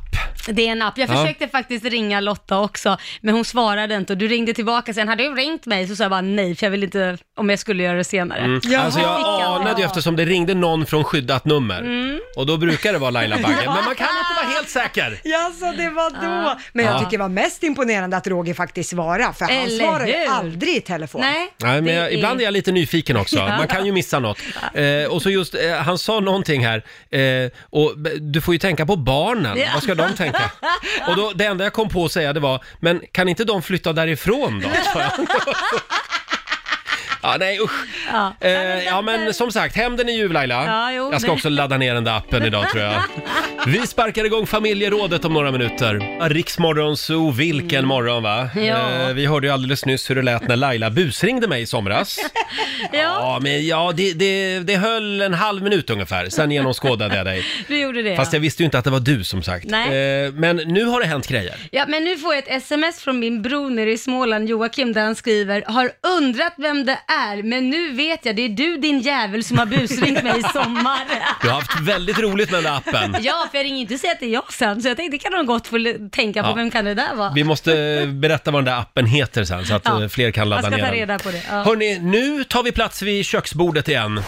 Speaker 4: Det är en app. Jag
Speaker 1: Ja.
Speaker 4: försökte faktiskt ringa Lotta också, men hon svarade inte och du ringde tillbaka sen. Hade du ringt mig så sa jag bara nej, för jag ville inte, om jag skulle göra det senare.
Speaker 1: Mm. Alltså jag anade ju eftersom det ringde någon från skyddat nummer.
Speaker 4: Mm.
Speaker 1: Och då brukar det vara Laila Bagge, men man kan inte vara helt säker.
Speaker 7: Ja,
Speaker 4: alltså,
Speaker 7: så Alltså, det var då. Men jag
Speaker 1: Ja.
Speaker 7: tycker det var mest imponerande att Roger faktiskt svarade, för han
Speaker 4: Eller
Speaker 7: svarar ju
Speaker 4: hur?
Speaker 7: aldrig i telefon.
Speaker 4: Nej.
Speaker 1: Nej,
Speaker 7: Det
Speaker 1: men jag,
Speaker 7: är-
Speaker 1: ibland är jag lite nyfiken också.
Speaker 7: Ja.
Speaker 1: Man kan ju missa något. Eh, och så just, eh, han sa någonting här. Eh, och b- du får ju tänka på barnen.
Speaker 4: Ja.
Speaker 1: Vad ska de tänka? Och då, det enda jag kom på att säga det var, men kan inte de flytta därifrån då? sa jag. Ja, nej usch.
Speaker 4: Ja.
Speaker 1: Eh, ja men som sagt, hämnden är ljuv Laila.
Speaker 4: Ja, jo,
Speaker 1: jag ska
Speaker 4: men-
Speaker 1: också ladda ner den där appen idag tror jag. Vi sparkar igång familjerådet om några minuter. Riksmorgon Zoo, vilken morgon va?
Speaker 4: Mm. Ja.
Speaker 1: Eh, vi hörde ju alldeles nyss hur det lät när Laila busringde mig i somras.
Speaker 4: Ja,
Speaker 1: Ja, men ja, det, det, det höll en halv minut ungefär, sen genomskådade jag dig.
Speaker 4: du gjorde det.
Speaker 1: Fast jag visste ju inte att det var du som sagt.
Speaker 4: Nej.
Speaker 1: Eh, Men nu har det hänt grejer.
Speaker 4: Ja, men nu får jag ett sms från min bror nere i Småland, Joakim, där han skriver “Har undrat vem det är, men nu vet jag, det är du din jävel som har busringt mig i sommar”.
Speaker 1: Du har haft väldigt roligt med den där appen.
Speaker 4: Ja, för jag ringer inte och säger att det är jag sen, så jag tänkte det kan de gott få l- tänka på,
Speaker 1: Ja.
Speaker 4: vem kan det där vara?
Speaker 1: Vi måste eh, berätta vad den där appen heter sen så att
Speaker 4: Ja.
Speaker 1: eh, fler kan
Speaker 4: Jag
Speaker 1: ladda
Speaker 4: ska
Speaker 1: ner
Speaker 4: ta
Speaker 1: den.
Speaker 4: reda på det. Ja.
Speaker 1: Hörni, nu tar vi plats vid köksbordet igen.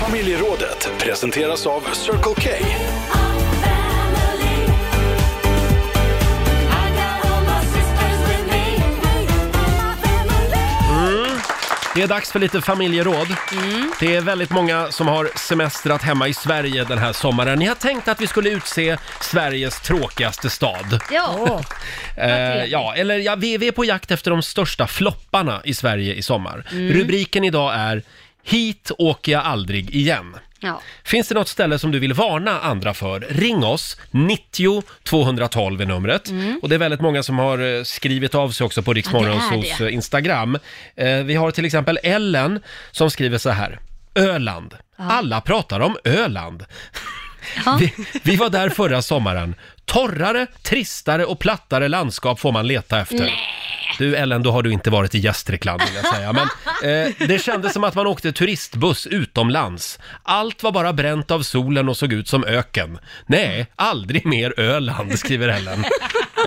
Speaker 3: Familjerådet presenteras av Circle K.
Speaker 1: Mm. Det är dags för lite familjeråd. Det är väldigt många som har semestrat hemma i Sverige den här sommaren. Jag tänkte att vi skulle utse Sveriges tråkigaste stad.
Speaker 4: Ja.
Speaker 1: Eh, ja, eller ja, vi, vi är på jakt efter de största flopparna i Sverige i sommar.
Speaker 4: Mm.
Speaker 1: Rubriken idag är “Hit åker jag aldrig igen”.
Speaker 4: ja.
Speaker 1: Finns det något ställe som du vill varna andra för? Ring oss, 90 212 är numret.
Speaker 4: Mm.
Speaker 1: Och det är väldigt många som har eh, skrivit av sig också på
Speaker 4: Ja, det är
Speaker 1: Riksmorgonsos
Speaker 4: det.
Speaker 1: Instagram. Eh, Vi har till exempel Ellen som skriver så här. Öland. Alla pratar om Öland. Vi, vi var där förra sommaren. Torrare, tristare och plattare landskap får man leta efter.
Speaker 4: Nej.
Speaker 1: Du Ellen, då har du inte varit i Gästrikland vill jag säga. Men eh, det kändes som att man åkte turistbuss utomlands. Allt var bara bränt av solen och såg ut som öken. Nej, aldrig mer Öland, skriver Ellen.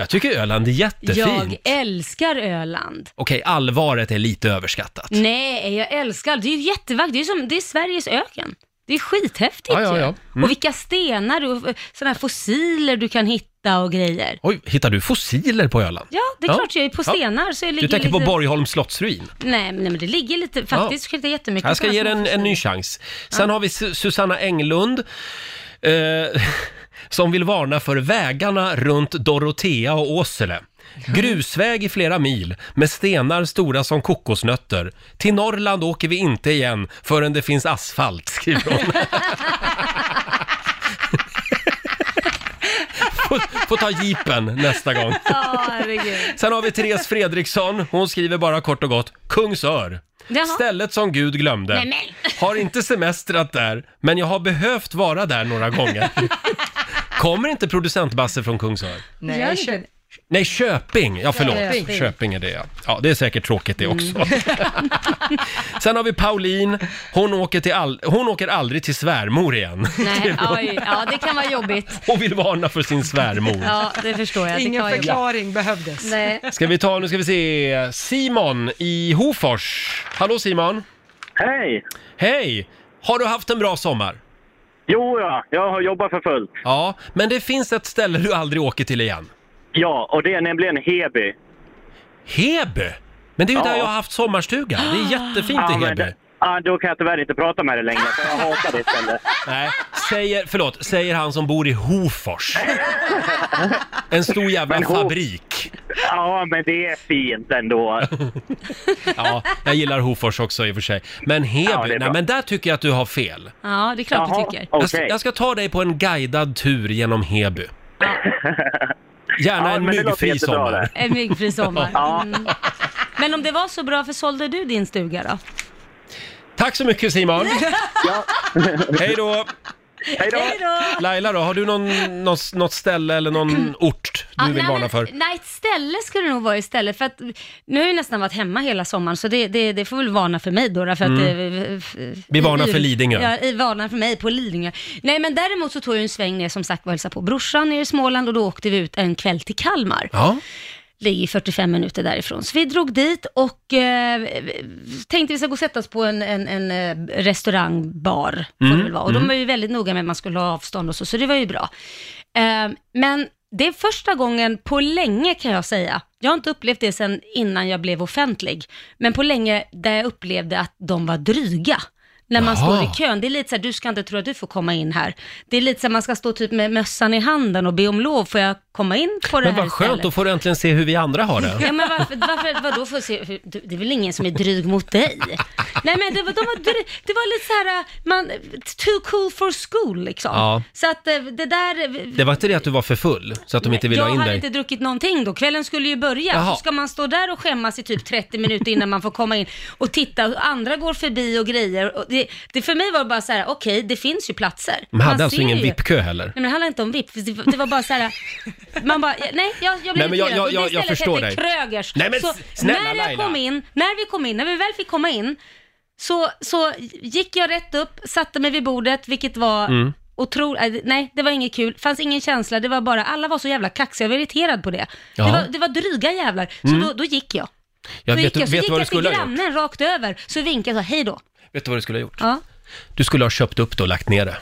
Speaker 1: Jag tycker Öland är jättefint.
Speaker 4: Jag älskar Öland.
Speaker 1: Okej, allvaret är lite överskattat.
Speaker 4: Nej, jag älskar Det är ju jättevackert. Det är, som, det är Sveriges öken. Det är skithäftigt
Speaker 1: Ja, ja,
Speaker 4: ju.
Speaker 1: ja. Mm.
Speaker 4: Och vilka stenar och sådana här fossiler du kan hitta och grejer.
Speaker 1: Oj, Mm. hittar du fossiler på Öland?
Speaker 4: Ja, det är klart jag är på stenar så jag
Speaker 1: Du
Speaker 4: ligger
Speaker 1: tänker
Speaker 4: lite...
Speaker 1: på Borgholms slottsruin?
Speaker 4: Nej, men- nej, men det ligger lite, faktiskt ja. skiljer jättemycket.
Speaker 1: Jag ska
Speaker 4: såna
Speaker 1: ge dig
Speaker 4: små
Speaker 1: en, en ny chans. Sen har vi Su- Susanna Englund. Eh, som vill varna för vägarna runt Dorotea och Åsele. Grusväg i flera mil med stenar stora som kokosnötter. Till Norrland åker vi inte igen förrän det finns asfalt, skriver hon. får, får ta jeepen nästa gång.
Speaker 4: Ja, herregud.
Speaker 1: Sen har vi Therese Fredriksson. Hon skriver bara kort och gott Kungsör.
Speaker 4: Jaha.
Speaker 1: Stället som Gud glömde.
Speaker 4: Nej, men.
Speaker 1: Har inte semestrat där, men jag har behövt vara där några gånger. Kommer inte producent Basse från Kungsör?
Speaker 7: Nej,
Speaker 4: Gör
Speaker 7: jag
Speaker 4: inte
Speaker 7: känner-
Speaker 1: Nej, Köping! Ja, förlåt. Köping,
Speaker 7: Köping.
Speaker 1: är det, ja. Ja, det är säkert tråkigt det också. Sen har vi Pauline. Hon åker, till all... Hon åker aldrig till svärmor igen.
Speaker 4: Nej, oj, ja det kan vara jobbigt.
Speaker 1: Hon vill varna för sin svärmor.
Speaker 4: Ja, det förstår jag.
Speaker 7: Ingen
Speaker 4: det kan vara jobbigt.
Speaker 7: förklaring behövdes.
Speaker 4: Nej.
Speaker 1: Ska vi ta, nu ska vi se, Simon i Hofors. Hallå Simon!
Speaker 13: Hej!
Speaker 1: Hej! Har du haft en bra sommar?
Speaker 13: Jo, ja, jag har jobbat för fullt.
Speaker 1: Ja, men det finns ett ställe du aldrig åker till igen.
Speaker 13: Ja, och det är nämligen Heby.
Speaker 1: Heby? Men det är ju
Speaker 13: Ja.
Speaker 1: där jag har haft sommarstuga. Det är jättefint
Speaker 13: Ja,
Speaker 1: i
Speaker 13: men
Speaker 1: Heby.
Speaker 13: det- Ja, då kan jag tyvärr inte prata med dig längre, för jag hatar det istället.
Speaker 1: Nej, säger, förlåt, säger han som bor i Hofors. En stor jävla
Speaker 13: Men Ho-
Speaker 1: fabrik.
Speaker 13: Ja, men det är fint ändå.
Speaker 1: Ja, jag gillar Hofors också i och för sig. Men Heby,
Speaker 13: Ja, det är bra.
Speaker 1: nej men där tycker jag att du har fel.
Speaker 4: Ja, det är klart du tycker.
Speaker 1: Jag, ska, jag ska ta dig på en guidad tur genom Heby. Gärna
Speaker 13: Ja,
Speaker 1: en
Speaker 13: men det låter
Speaker 1: myggfri
Speaker 13: jättebra
Speaker 1: sommar.
Speaker 13: det.
Speaker 4: En myggfri sommar.
Speaker 13: Ja.
Speaker 4: Mm. Men om det var så bra, för sålde du din stuga då?
Speaker 1: Tack så mycket Simon! Hej då!
Speaker 4: Hej då!
Speaker 1: Laila då, har du någon, något, något ställe eller någon ort du
Speaker 4: Mm.
Speaker 1: vill
Speaker 4: Ja, Ah, nej,
Speaker 1: varna
Speaker 4: men-
Speaker 1: för?
Speaker 4: Nej, ett ställe skulle det nog vara istället. För att, nu har jag nästan varit hemma hela sommaren, så det, det, det får väl varna för mig då. För att,
Speaker 1: Mm.
Speaker 4: eh, f- f-
Speaker 1: Vi varnar
Speaker 4: i-
Speaker 1: för Lidingö.
Speaker 4: Ja, i- varnar för mig på Lidingö. Nej, men däremot så tog jag en sväng ner som sagt och hälsade på brorsan nere i Småland och då åkte vi ut en kväll till Kalmar.
Speaker 1: Ja.
Speaker 4: Ligger 45 minuter därifrån. Så vi drog dit och eh, tänkte vi ska gå och sätta oss på en, en, en eh, restaurang, bar, får
Speaker 14: Mm,
Speaker 4: det väl vara. Och de
Speaker 14: mm.
Speaker 4: var ju väldigt noga med att man skulle ha avstånd och så, så det var ju bra. Eh, men det är första gången på länge kan jag säga, jag har inte upplevt det sedan innan jag blev offentlig, men på länge där jag upplevde att de var dryga. När man
Speaker 14: Jaha.
Speaker 4: står i kön, det är lite så här, du ska inte tro att du får komma in här. Det är lite så här, man ska stå typ med mössan i handen och be om lov, får jag komma in på det
Speaker 1: Men
Speaker 4: här
Speaker 1: vad skönt,
Speaker 4: stället?
Speaker 1: då får du äntligen se hur vi andra har
Speaker 4: Ja,
Speaker 1: det.
Speaker 4: men varför, varför vadå för att se, hur- du- det är väl ingen som är dryg mot dig? Nej men det var, de var, dry- det var lite så här, man, too cool for school liksom.
Speaker 1: Ja.
Speaker 4: Så att eh, det där...
Speaker 1: Det var inte det att du var för full, så att de inte ville
Speaker 4: jag
Speaker 1: ha in
Speaker 4: hade
Speaker 1: dig?
Speaker 4: inte druckit någonting då, kvällen skulle ju börja.
Speaker 1: Jaha.
Speaker 4: Så ska man stå där och skämmas i typ 30 minuter innan man får komma in och titta, och andra går förbi och grejer. Och det, det för mig var det bara så här, okej, det finns ju platser.
Speaker 1: De hade
Speaker 4: Man
Speaker 1: alltså
Speaker 4: ser
Speaker 1: ingen
Speaker 4: ju. Mm.
Speaker 1: VIP-kö heller?
Speaker 4: Nej men det handlar inte om VIP, för det var- det var bara så här, man bara, nej jag, jag
Speaker 1: Nej,
Speaker 4: blev
Speaker 1: men jag-
Speaker 4: irriterad.
Speaker 1: jag-
Speaker 4: Och det
Speaker 1: jag- jag
Speaker 4: istället
Speaker 1: förstår
Speaker 4: hette
Speaker 1: dig.
Speaker 4: Krögers.
Speaker 1: Nej, men
Speaker 4: så
Speaker 1: snälla
Speaker 4: när jag
Speaker 1: Laila.
Speaker 4: kom in, när vi kom in, när vi väl fick komma in, så, så gick jag rätt upp, satte mig vid bordet, vilket var
Speaker 14: Mm.
Speaker 4: otroligt, nej det var inget kul, fanns ingen känsla, det var bara, alla var så jävla kaxiga, jag var irriterad på det.
Speaker 1: Ja.
Speaker 4: Det, var, det var dryga jävlar, så
Speaker 1: Mm.
Speaker 4: då, då gick jag.
Speaker 1: Jag
Speaker 4: då
Speaker 1: vet,
Speaker 4: gick jag, så
Speaker 1: vet
Speaker 4: gick
Speaker 1: du vad du
Speaker 4: jag till
Speaker 1: skulle ha gjort?
Speaker 4: grannen rakt över, så vinkade jag så, hej då.
Speaker 1: Vet du vad du skulle ha gjort?
Speaker 4: Ja.
Speaker 1: Du skulle ha köpt upp det och lagt ner det.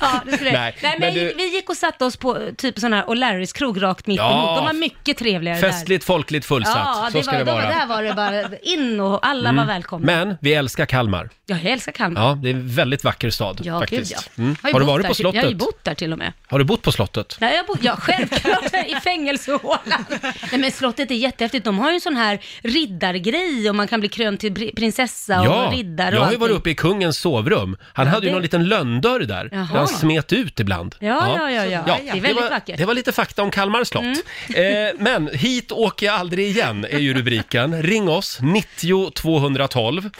Speaker 4: Ja, det skulle jag.
Speaker 1: Nej,
Speaker 4: Nej,
Speaker 1: men
Speaker 4: men
Speaker 1: du-
Speaker 4: vi gick och satte oss på eh, typ sån här O'Larrys krog rakt mitt
Speaker 1: Ja.
Speaker 4: emot. De var mycket trevligare där.
Speaker 1: Festligt, folkligt, fullsatt.
Speaker 4: Ja,
Speaker 1: så
Speaker 4: det
Speaker 1: ska
Speaker 4: var,
Speaker 1: det
Speaker 4: de-
Speaker 1: vara.
Speaker 4: där var det bara in och alla
Speaker 1: Mm.
Speaker 4: var välkomna.
Speaker 1: Men vi älskar Kalmar.
Speaker 4: Ja, jag älskar Kalmar.
Speaker 1: Ja, det är en väldigt vacker stad
Speaker 4: Ja,
Speaker 1: faktiskt.
Speaker 4: gud ja.
Speaker 1: Mm.
Speaker 4: ju
Speaker 1: Har du
Speaker 4: bott
Speaker 1: varit
Speaker 4: där
Speaker 1: på
Speaker 4: till- Jag har ju
Speaker 1: slottet?
Speaker 4: bott där till och med.
Speaker 1: Har du bott på slottet?
Speaker 4: Nej, jag bor, ja, självklart i fängelsehålan. Nej, men slottet är jättehäftigt. De har ju en sån här riddargrej och man kan bli krönt till pri- prinsessa och
Speaker 1: Ja,
Speaker 4: riddare och
Speaker 1: jag har ju
Speaker 4: allting.
Speaker 1: varit uppe i kungens sovrum. Han
Speaker 4: Ja,
Speaker 1: hade ju
Speaker 4: det-
Speaker 1: någon liten lönndörr där,
Speaker 4: Jaha.
Speaker 1: där han smet ut ibland.
Speaker 4: Ja, ja, ja, ja. Det är väldigt
Speaker 1: var,
Speaker 4: vackert. Mm.
Speaker 1: Det var lite fakta om Kalmar slott. Eh, men hit åker jag aldrig igen, är ju rubriken. Ring oss, 90 212.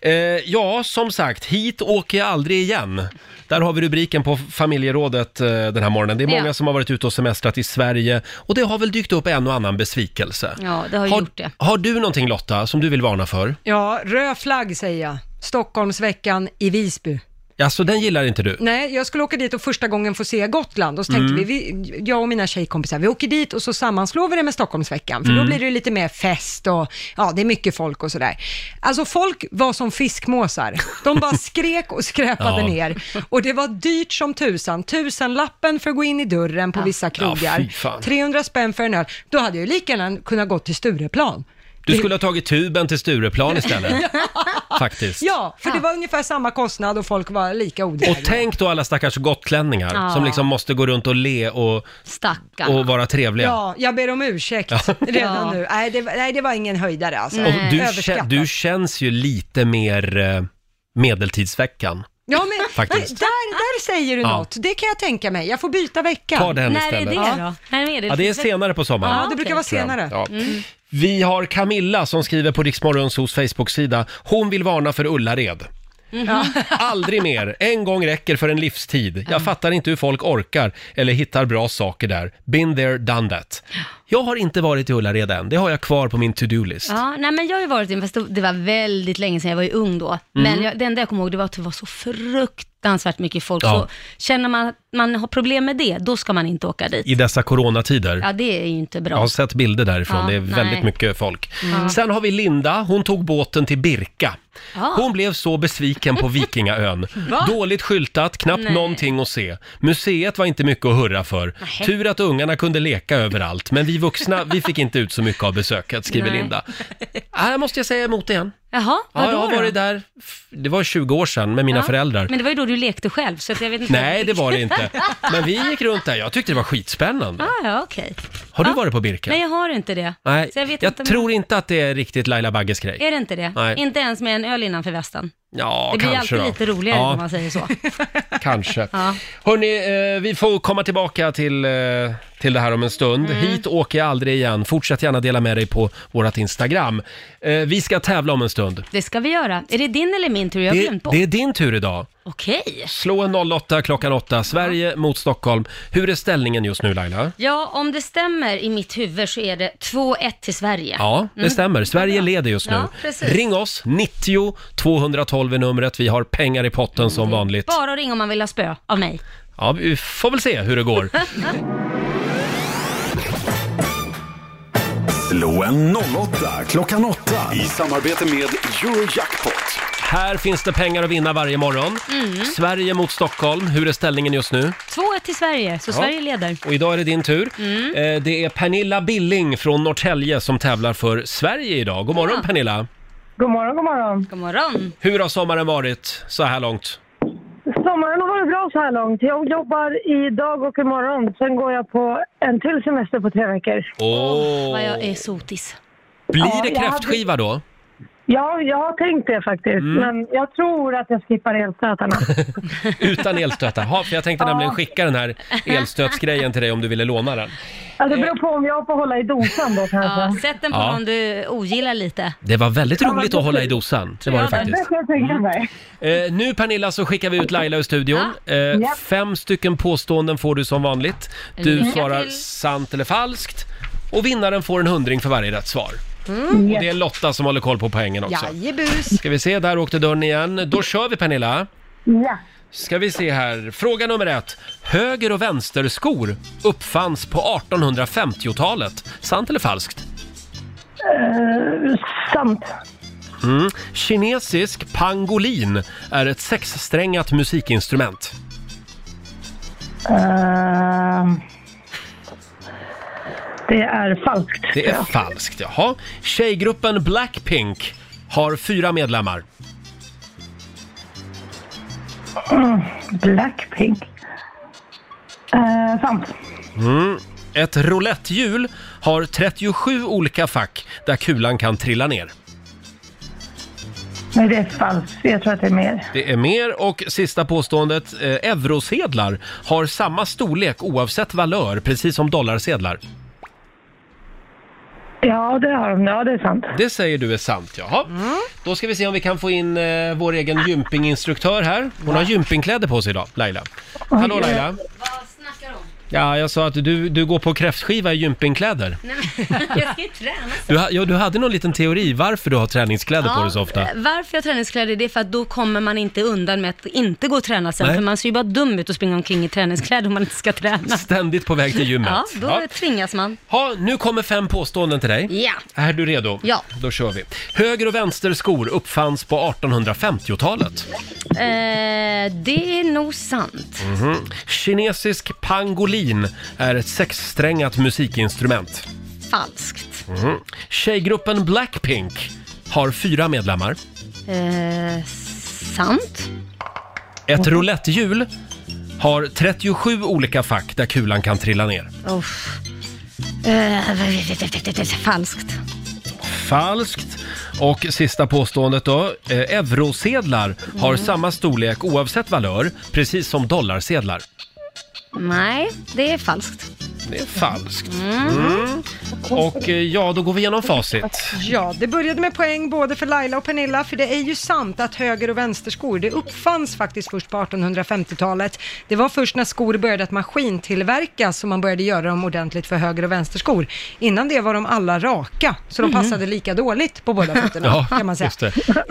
Speaker 1: Eh, ja, som sagt, hit åker jag aldrig igen. Där har vi rubriken på familjerådet eh, den här morgonen. Det är många
Speaker 4: Ja.
Speaker 1: som har varit ute och semestrat i Sverige och det har väl dykt upp en och annan besvikelse.
Speaker 4: Ja, det har ju gjort det.
Speaker 1: Har du någonting Lotta, som du vill varna för?
Speaker 7: Ja, röd flagg säger jag. Stockholmsveckan i Visby.
Speaker 1: Ja, så den gillar inte du?
Speaker 7: Nej, jag skulle åka dit och första gången få se Gotland och så tänkte
Speaker 1: Mm.
Speaker 7: vi, vi, jag och mina tjejkompisar, vi åker dit och så sammanslår vi det med Stockholmsveckan, för
Speaker 2: Mm.
Speaker 7: då blir det ju lite mer fest och ja, det är mycket folk och sådär. Alltså folk var som fiskmåsar. De bara skrek och skräpade
Speaker 2: Ja.
Speaker 7: ner och det var dyrt som tusan. Tusenlappen för att gå in i dörren på vissa
Speaker 1: Ja,
Speaker 7: krogar.
Speaker 1: fy fan.
Speaker 7: 300 spänn för en öl. Då hade jag ju lika gärna kunnat gå till Stureplan.
Speaker 1: Du skulle ha tagit tuben till Stureplan istället. Faktiskt.
Speaker 7: Ja, för det var ungefär samma kostnad och folk var lika
Speaker 1: Och
Speaker 7: odrägliga.
Speaker 1: tänk då alla stackars gotlänningar
Speaker 7: Ja.
Speaker 1: som liksom måste gå runt och le och, och vara trevliga.
Speaker 7: Ja, jag ber om ursäkt
Speaker 1: Ja.
Speaker 7: redan
Speaker 1: Ja.
Speaker 7: nu. Nej det, nej, det var ingen höjdare alltså.
Speaker 1: Och du, kä-
Speaker 7: Överskattat.
Speaker 1: du känns ju lite mer eh, medeltidsveckan.
Speaker 7: Ja, men
Speaker 1: Faktiskt.
Speaker 7: Där, där säger du
Speaker 1: Ja.
Speaker 7: något. Det kan jag tänka mig. Jag får byta vecka.
Speaker 1: Ta den När är istället. det
Speaker 7: Ja.
Speaker 1: Ja, det är senare på sommaren.
Speaker 7: Ja, det brukar vara
Speaker 1: tror jag.
Speaker 7: senare. Mm.
Speaker 1: Ja. Vi har Camilla som skriver på Riksmorgonsos Facebook-sida. Hon vill varna för Ullared. Mm. Aldrig mer. En gång räcker för en livstid. Jag fattar inte hur folk orkar eller hittar bra saker där. Been there, done that. Jag har inte varit i Ullared än. Det har jag kvar på min to-do-list.
Speaker 4: Ja, nej men jag har ju varit i en fest, det var väldigt länge sedan, jag var ju ung då.
Speaker 1: Mm.
Speaker 4: Men jag, det enda jag kommer ihåg det var att det var så fruktansvärt mycket folk.
Speaker 1: Ja.
Speaker 4: Så känner man att man har problem med det, då ska man inte åka dit.
Speaker 1: I dessa coronatider.
Speaker 4: Ja, det är ju inte bra.
Speaker 1: Jag har sett bilder därifrån.
Speaker 4: Ja,
Speaker 1: det är väldigt
Speaker 4: nej.
Speaker 1: mycket folk.
Speaker 4: Mm.
Speaker 1: Sen har vi Linda. Hon tog båten till Birka.
Speaker 4: Ja.
Speaker 1: Hon blev så besviken på Vikingaön.
Speaker 4: Va?
Speaker 1: Dåligt skyltat, knappt
Speaker 4: Nej.
Speaker 1: någonting att se. Museet var inte mycket att hurra för.
Speaker 4: Nej.
Speaker 1: Tur att ungarna kunde leka överallt, men vi vuxna, vi fick inte ut så mycket av besöket, skriver
Speaker 4: Nej.
Speaker 1: Linda. Här måste jag säga emot igen.
Speaker 4: Jaha,
Speaker 1: Ja,
Speaker 4: vadå
Speaker 1: jag har
Speaker 4: då?
Speaker 1: varit där, f- det var 20 år sedan med mina
Speaker 4: Ja.
Speaker 1: föräldrar.
Speaker 4: Men det var ju då du lekte själv, så att jag vet inte.
Speaker 1: Nej, det var det inte. Men vi gick runt där, jag tyckte det var skitspännande.
Speaker 4: ah, ja, okej.
Speaker 1: Har du
Speaker 4: Ja.
Speaker 1: varit på Birka?
Speaker 4: Nej, jag har inte det.
Speaker 1: Nej,
Speaker 4: Så jag vet inte om-
Speaker 1: tror inte att det är riktigt Laila Bagges grej.
Speaker 4: Är det inte det?
Speaker 1: Nej.
Speaker 4: Inte ens med en öl innanför västen.
Speaker 1: Ja,
Speaker 4: det blir
Speaker 1: kanske
Speaker 4: alltid
Speaker 1: då.
Speaker 4: lite roligare
Speaker 1: Ja.
Speaker 4: om man säger så.
Speaker 1: Kanske.
Speaker 4: Ja.
Speaker 1: Hörni, eh, vi får komma tillbaka till, eh, till det här om en stund.
Speaker 4: Mm.
Speaker 1: Hit åker jag aldrig igen. Fortsätt gärna dela med dig på vårt Instagram. Eh, vi ska tävla om en stund. stund.
Speaker 4: Det ska vi göra. Är det din eller min tur? Jag har
Speaker 1: Det,
Speaker 4: glömt bort.
Speaker 1: det är din tur idag.
Speaker 4: Okej.
Speaker 1: Slå en 08 klockan 8, Sverige mot Stockholm. Hur är ställningen just nu Laila?
Speaker 4: Ja, om det stämmer i mitt huvud så är det 2-1 till Sverige.
Speaker 1: Ja, det
Speaker 4: Mm.
Speaker 1: stämmer. Sverige leder just nu.
Speaker 4: Ja, precis.
Speaker 1: Ring oss, 90 212 är numret. Vi har pengar i potten som
Speaker 4: Mm.
Speaker 1: vanligt.
Speaker 4: Bara att ringa om man vill ha spö av mig.
Speaker 1: Ja, vi får väl se hur det går.
Speaker 3: Slå en 08 klockan 8 i samarbete med Eurojackpot.
Speaker 1: Här finns det pengar att vinna varje morgon.
Speaker 4: Mm.
Speaker 1: Sverige mot Stockholm. Hur är ställningen just nu?
Speaker 4: 2-1 till Sverige, så
Speaker 1: Ja.
Speaker 4: Sverige leder.
Speaker 1: Och idag är det din tur.
Speaker 4: Mm.
Speaker 1: Eh, Det är Pernilla Billing från Norrtälje som tävlar för Sverige idag. God morgon
Speaker 4: Ja.
Speaker 1: Pernilla!
Speaker 14: God morgon, god morgon.
Speaker 4: God morgon.
Speaker 1: Hur har sommaren varit så här långt?
Speaker 14: Sommaren har varit bra så här långt. Jag jobbar idag och imorgon. Sen går jag på en till semester på tre veckor.
Speaker 1: Åh!
Speaker 4: Vad jag är sotis.
Speaker 1: Blir
Speaker 14: Ja,
Speaker 1: det
Speaker 14: jag hade-
Speaker 1: kräftskiva då?
Speaker 14: Ja, jag har tänkt det faktiskt.
Speaker 1: Mm.
Speaker 14: Men jag tror att jag skippar elstötarna.
Speaker 1: Utan elstötar? Ja, för jag tänkte
Speaker 14: Ja.
Speaker 1: nämligen skicka den här elstötsgrejen till dig om du ville låna den.
Speaker 14: Ja, Alltså, det beror på om jag får hålla i dosan då kanske.
Speaker 4: Ja, sätt den på
Speaker 1: Ja.
Speaker 4: någon du ogillar lite.
Speaker 1: Det var väldigt
Speaker 4: Ja, men
Speaker 1: roligt att hålla i
Speaker 4: precis.
Speaker 1: dosan. Det var det
Speaker 4: Ja,
Speaker 1: faktiskt.
Speaker 14: kan jag tänka mig.
Speaker 1: Eh, nu Pernilla så skickar vi ut Laila ur studion. Eh,
Speaker 14: Ja.
Speaker 1: fem stycken påståenden får du som vanligt. Du
Speaker 4: Lycka
Speaker 1: svarar
Speaker 4: till.
Speaker 1: sant eller falskt. Och vinnaren får en hundring för varje rätt svar.
Speaker 2: Mm.
Speaker 1: Och det är Lotta som håller koll på poängen också.
Speaker 2: Jajebus.
Speaker 1: Ska vi se, där åkte dörren igen. Då kör vi Pernilla.
Speaker 14: Ja.
Speaker 1: Ska vi se här. Fråga nummer ett. Höger och vänsterskor uppfanns på 1850-talet. Sant eller falskt?
Speaker 14: Eh, sant.
Speaker 1: Mm. Kinesisk pangolin är ett sexsträngat musikinstrument.
Speaker 14: Eh, det är falskt.
Speaker 1: Det är falskt, jaha. Tjejgruppen Blackpink har fyra medlemmar.
Speaker 14: Mm, Blackpink. Eh, sant.
Speaker 1: Mm. Ett roulettehjul har 37 olika fack där kulan kan trilla ner.
Speaker 14: Nej, det är falskt. Jag tror att det är mer.
Speaker 1: Det är mer och sista påståendet. Eh, eurosedlar har samma storlek oavsett valör, precis som dollarsedlar.
Speaker 14: Ja, det har de. Ja, det är sant.
Speaker 1: Det säger du är sant, jaha. Då ska vi se om vi kan få in eh, vår egen gympinginstruktör här. Hon har gympingkläder på sig idag, Laila. Hallå Laila.
Speaker 4: Vad snackar du om?
Speaker 1: Ja, jag sa att du, du går på kräftskiva i gympingkläder.
Speaker 4: Nej, men, jag ska ju träna.
Speaker 1: Du, ha- ja, du hade någon liten teori varför du har träningskläder på dig så ofta.
Speaker 4: eh, Varför jag har träningskläder, det är för att då kommer man inte undan med att inte gå och träna sen.
Speaker 1: Nej.
Speaker 4: För man ser ju bara dum ut och springer omkring i träningskläder om man inte ska träna.
Speaker 1: Ständigt på väg till gymmet.
Speaker 4: Ja, då
Speaker 1: Ja.
Speaker 4: tvingas man.
Speaker 1: Ha, nu kommer fem påståenden till dig.
Speaker 4: Ja.
Speaker 1: Är du redo?
Speaker 4: Ja.
Speaker 1: Då kör vi. Höger och vänster skor uppfanns på 1850-talet.
Speaker 4: Eh, det är nog sant.
Speaker 1: Mhm. Kinesisk pangolin är ett sexsträngat musikinstrument.
Speaker 4: Falskt.
Speaker 1: Mhm. Tjejgruppen Blackpink har fyra medlemmar.
Speaker 4: Eh, sant.
Speaker 1: Ett roulettehjul har 37 olika fack där kulan kan trilla ner.
Speaker 4: Uff. Eh, falskt.
Speaker 1: Falskt. Och sista påståendet då. Eh, Eurosedlar har
Speaker 4: Mm.
Speaker 1: samma storlek oavsett valör, precis som dollarsedlar.
Speaker 4: Nej, det är falskt.
Speaker 1: Det är falskt.
Speaker 4: Mm.
Speaker 1: Mm. Och eh, ja, då går vi igenom facit.
Speaker 7: Ja, det började med poäng både för Laila och Pernilla, för det är ju sant att höger och vänsterskor, det uppfanns faktiskt först på 1850-talet. Det var först när skor började att maskintillverkas som man började göra dem ordentligt för höger och vänsterskor. Innan det var de alla raka, så de
Speaker 4: Mhm.
Speaker 7: passade lika dåligt på båda fötterna,
Speaker 4: Ja,
Speaker 7: kan man säga.
Speaker 4: just det.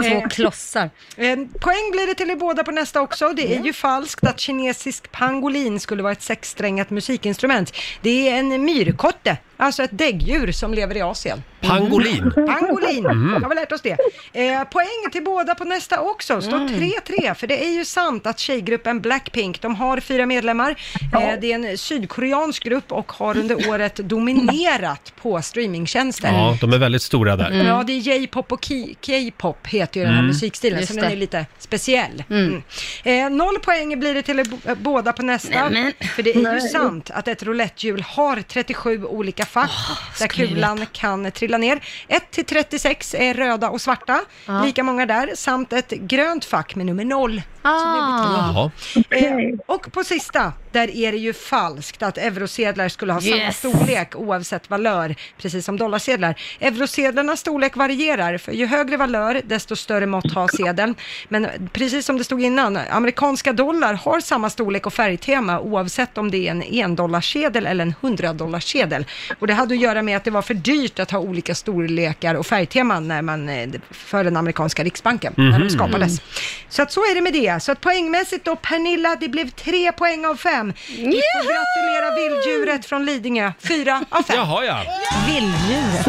Speaker 4: Två klossar.
Speaker 7: Eh, Poäng blir det till er båda på nästa också. Det är ju falskt att kinesisk pangolin skulle vara ett sexsträngat musikinstrument. Det är en myrkotte, alltså ett däggdjur som lever i Asien.
Speaker 1: Pangolin.
Speaker 7: Pangolin,
Speaker 1: Mm.
Speaker 7: då har vi lärt oss det. Eh, poäng till båda på nästa också, står 3-3, för det är ju sant att tjejgruppen Blackpink, de har fyra medlemmar. Eh, det är en sydkoreansk grupp och har under året dominerat på streamingtjänster.
Speaker 1: Ja, de är väldigt stora där.
Speaker 4: Mm.
Speaker 7: Mm. Ja, det är J-pop och ki- K-pop heter ju den här
Speaker 1: Mm.
Speaker 7: musikstilen,
Speaker 4: Just
Speaker 7: så den
Speaker 4: det.
Speaker 7: är lite speciell. Mm. Eh, noll poäng blir det till er bo- eh, båda på nästa.
Speaker 4: Nej,
Speaker 7: För det är ju
Speaker 4: Nej.
Speaker 7: sant att ett roulettehjul har 37 olika fack där
Speaker 2: skrivet.
Speaker 7: kulan kan trilla ner. 1 till 36 är röda och svarta,
Speaker 2: Ja.
Speaker 7: lika många där, samt ett grönt fack med nummer 0.
Speaker 4: Ah.
Speaker 1: Jaha.
Speaker 7: Eh, och på sista, där är det ju falskt att eurosedlar skulle ha samma
Speaker 2: Yes.
Speaker 7: storlek oavsett valör, precis som dollarsedlar. Eurosedlarnas storlek varierar, för ju högre valör, desto större mått har sedeln. Men precis som det stod innan, amerikanska dollar har samma storlek och färgtema oavsett om det är en endollarsedel eller en hundradollarsedel. Och det hade att göra med att det var för dyrt att ha olika storlekar och färgteman när man, eh, för den amerikanska riksbanken, när
Speaker 2: Mhm.
Speaker 7: de skapades.
Speaker 1: Mm.
Speaker 7: Så att så är det med det. Så att poängmässigt då, Pernilla, det blev tre poäng av fem. Vi får gratulera vilddjuret från Lidingö. Fyra av fem.
Speaker 1: Jaha, ja.
Speaker 7: Vilddjuret.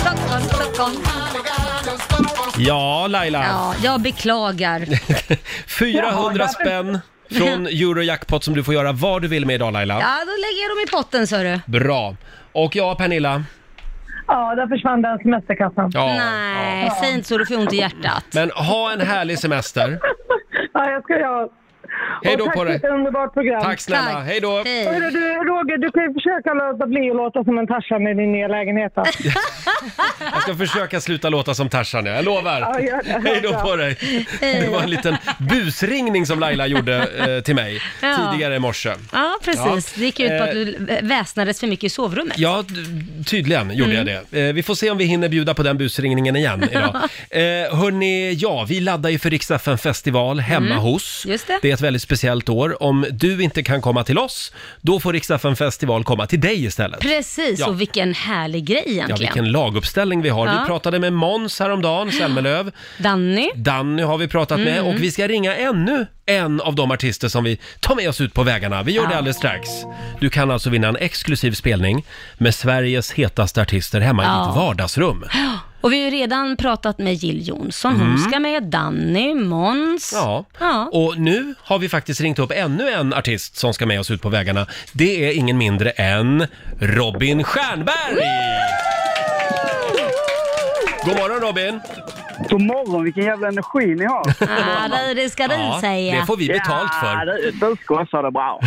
Speaker 4: Stockholm, Stockholm.
Speaker 1: Ja, Laila.
Speaker 4: Ja, jag beklagar.
Speaker 1: 400
Speaker 4: Jaha,
Speaker 1: spänn
Speaker 4: varför?
Speaker 1: från Eurojackpot som du får göra vad du vill med idag Laila.
Speaker 4: Ja, då lägger jag dem i potten, sa du.
Speaker 1: Bra. Och ja, Pernilla.
Speaker 14: Ja, där försvann den semesterkassan.
Speaker 1: Ja.
Speaker 4: Nej, säg inte så, du får ont i hjärtat.
Speaker 1: Men ha en härlig semester.
Speaker 14: Ja, jag ska göra.
Speaker 1: Hej då
Speaker 14: Och
Speaker 1: på dig.
Speaker 14: Tack för ett underbart program.
Speaker 1: Tack snälla. Tack. Hej då. Hej.
Speaker 14: Hörru Du, Roger, du kan ju försöka låta bli att låta som en Tarzan i din nya lägenhet. då.
Speaker 1: Jag ska försöka sluta låta som Tarzan, jag lovar.
Speaker 14: Ja, gör det.
Speaker 1: Hej då
Speaker 14: Bra.
Speaker 1: på dig. Det var en liten busringning som Laila gjorde eh, till mig
Speaker 4: Ja.
Speaker 1: tidigare i morse.
Speaker 4: Ja, precis.
Speaker 1: Ja.
Speaker 4: Det gick ut på att
Speaker 1: Eh,
Speaker 4: du väsnades för mycket i sovrummet.
Speaker 1: Ja, d- tydligen gjorde
Speaker 4: Mm.
Speaker 1: jag det. Eh, vi får se om vi hinner bjuda på den busringningen igen idag. eh, hörni, ja, vi laddar ju för Rix FM festival hemma
Speaker 4: Mm.
Speaker 1: hos.
Speaker 4: Just det.
Speaker 1: är ett väldigt speciellt år. Om du inte kan komma till oss, då får Rix FM festival komma till dig istället.
Speaker 4: Precis,
Speaker 1: Ja.
Speaker 4: och vilken härlig grej
Speaker 1: Ja,
Speaker 4: egentligen.
Speaker 1: vilken laguppställning vi har.
Speaker 4: Ja.
Speaker 1: Vi pratade med Måns häromdagen, Zelmerlöw.
Speaker 4: Danny.
Speaker 1: Danny har vi pratat med
Speaker 4: Mm.
Speaker 1: och vi ska ringa ännu en av de artister som vi tar med oss ut på vägarna. Vi gör det
Speaker 4: Ja.
Speaker 1: alldeles strax. Du kan alltså vinna en exklusiv spelning med Sveriges hetaste artister hemma i
Speaker 4: Ja.
Speaker 1: ditt vardagsrum.
Speaker 4: Och vi har ju redan pratat med Jill Johnson. Hon
Speaker 1: Mm.
Speaker 4: ska med, Danny, Måns.
Speaker 1: Ja.
Speaker 4: Ja.
Speaker 1: Och nu har vi faktiskt ringt upp ännu en artist som ska med oss ut på vägarna. Det är ingen mindre än Robin Stjernberg! God morgon Robin!
Speaker 15: God morgon, vilken jävla energi ni har.
Speaker 4: Ah, det- det ska du
Speaker 1: Ja,
Speaker 4: säga.
Speaker 1: det får vi betalt för.
Speaker 15: Ja, du, du skojar det bra.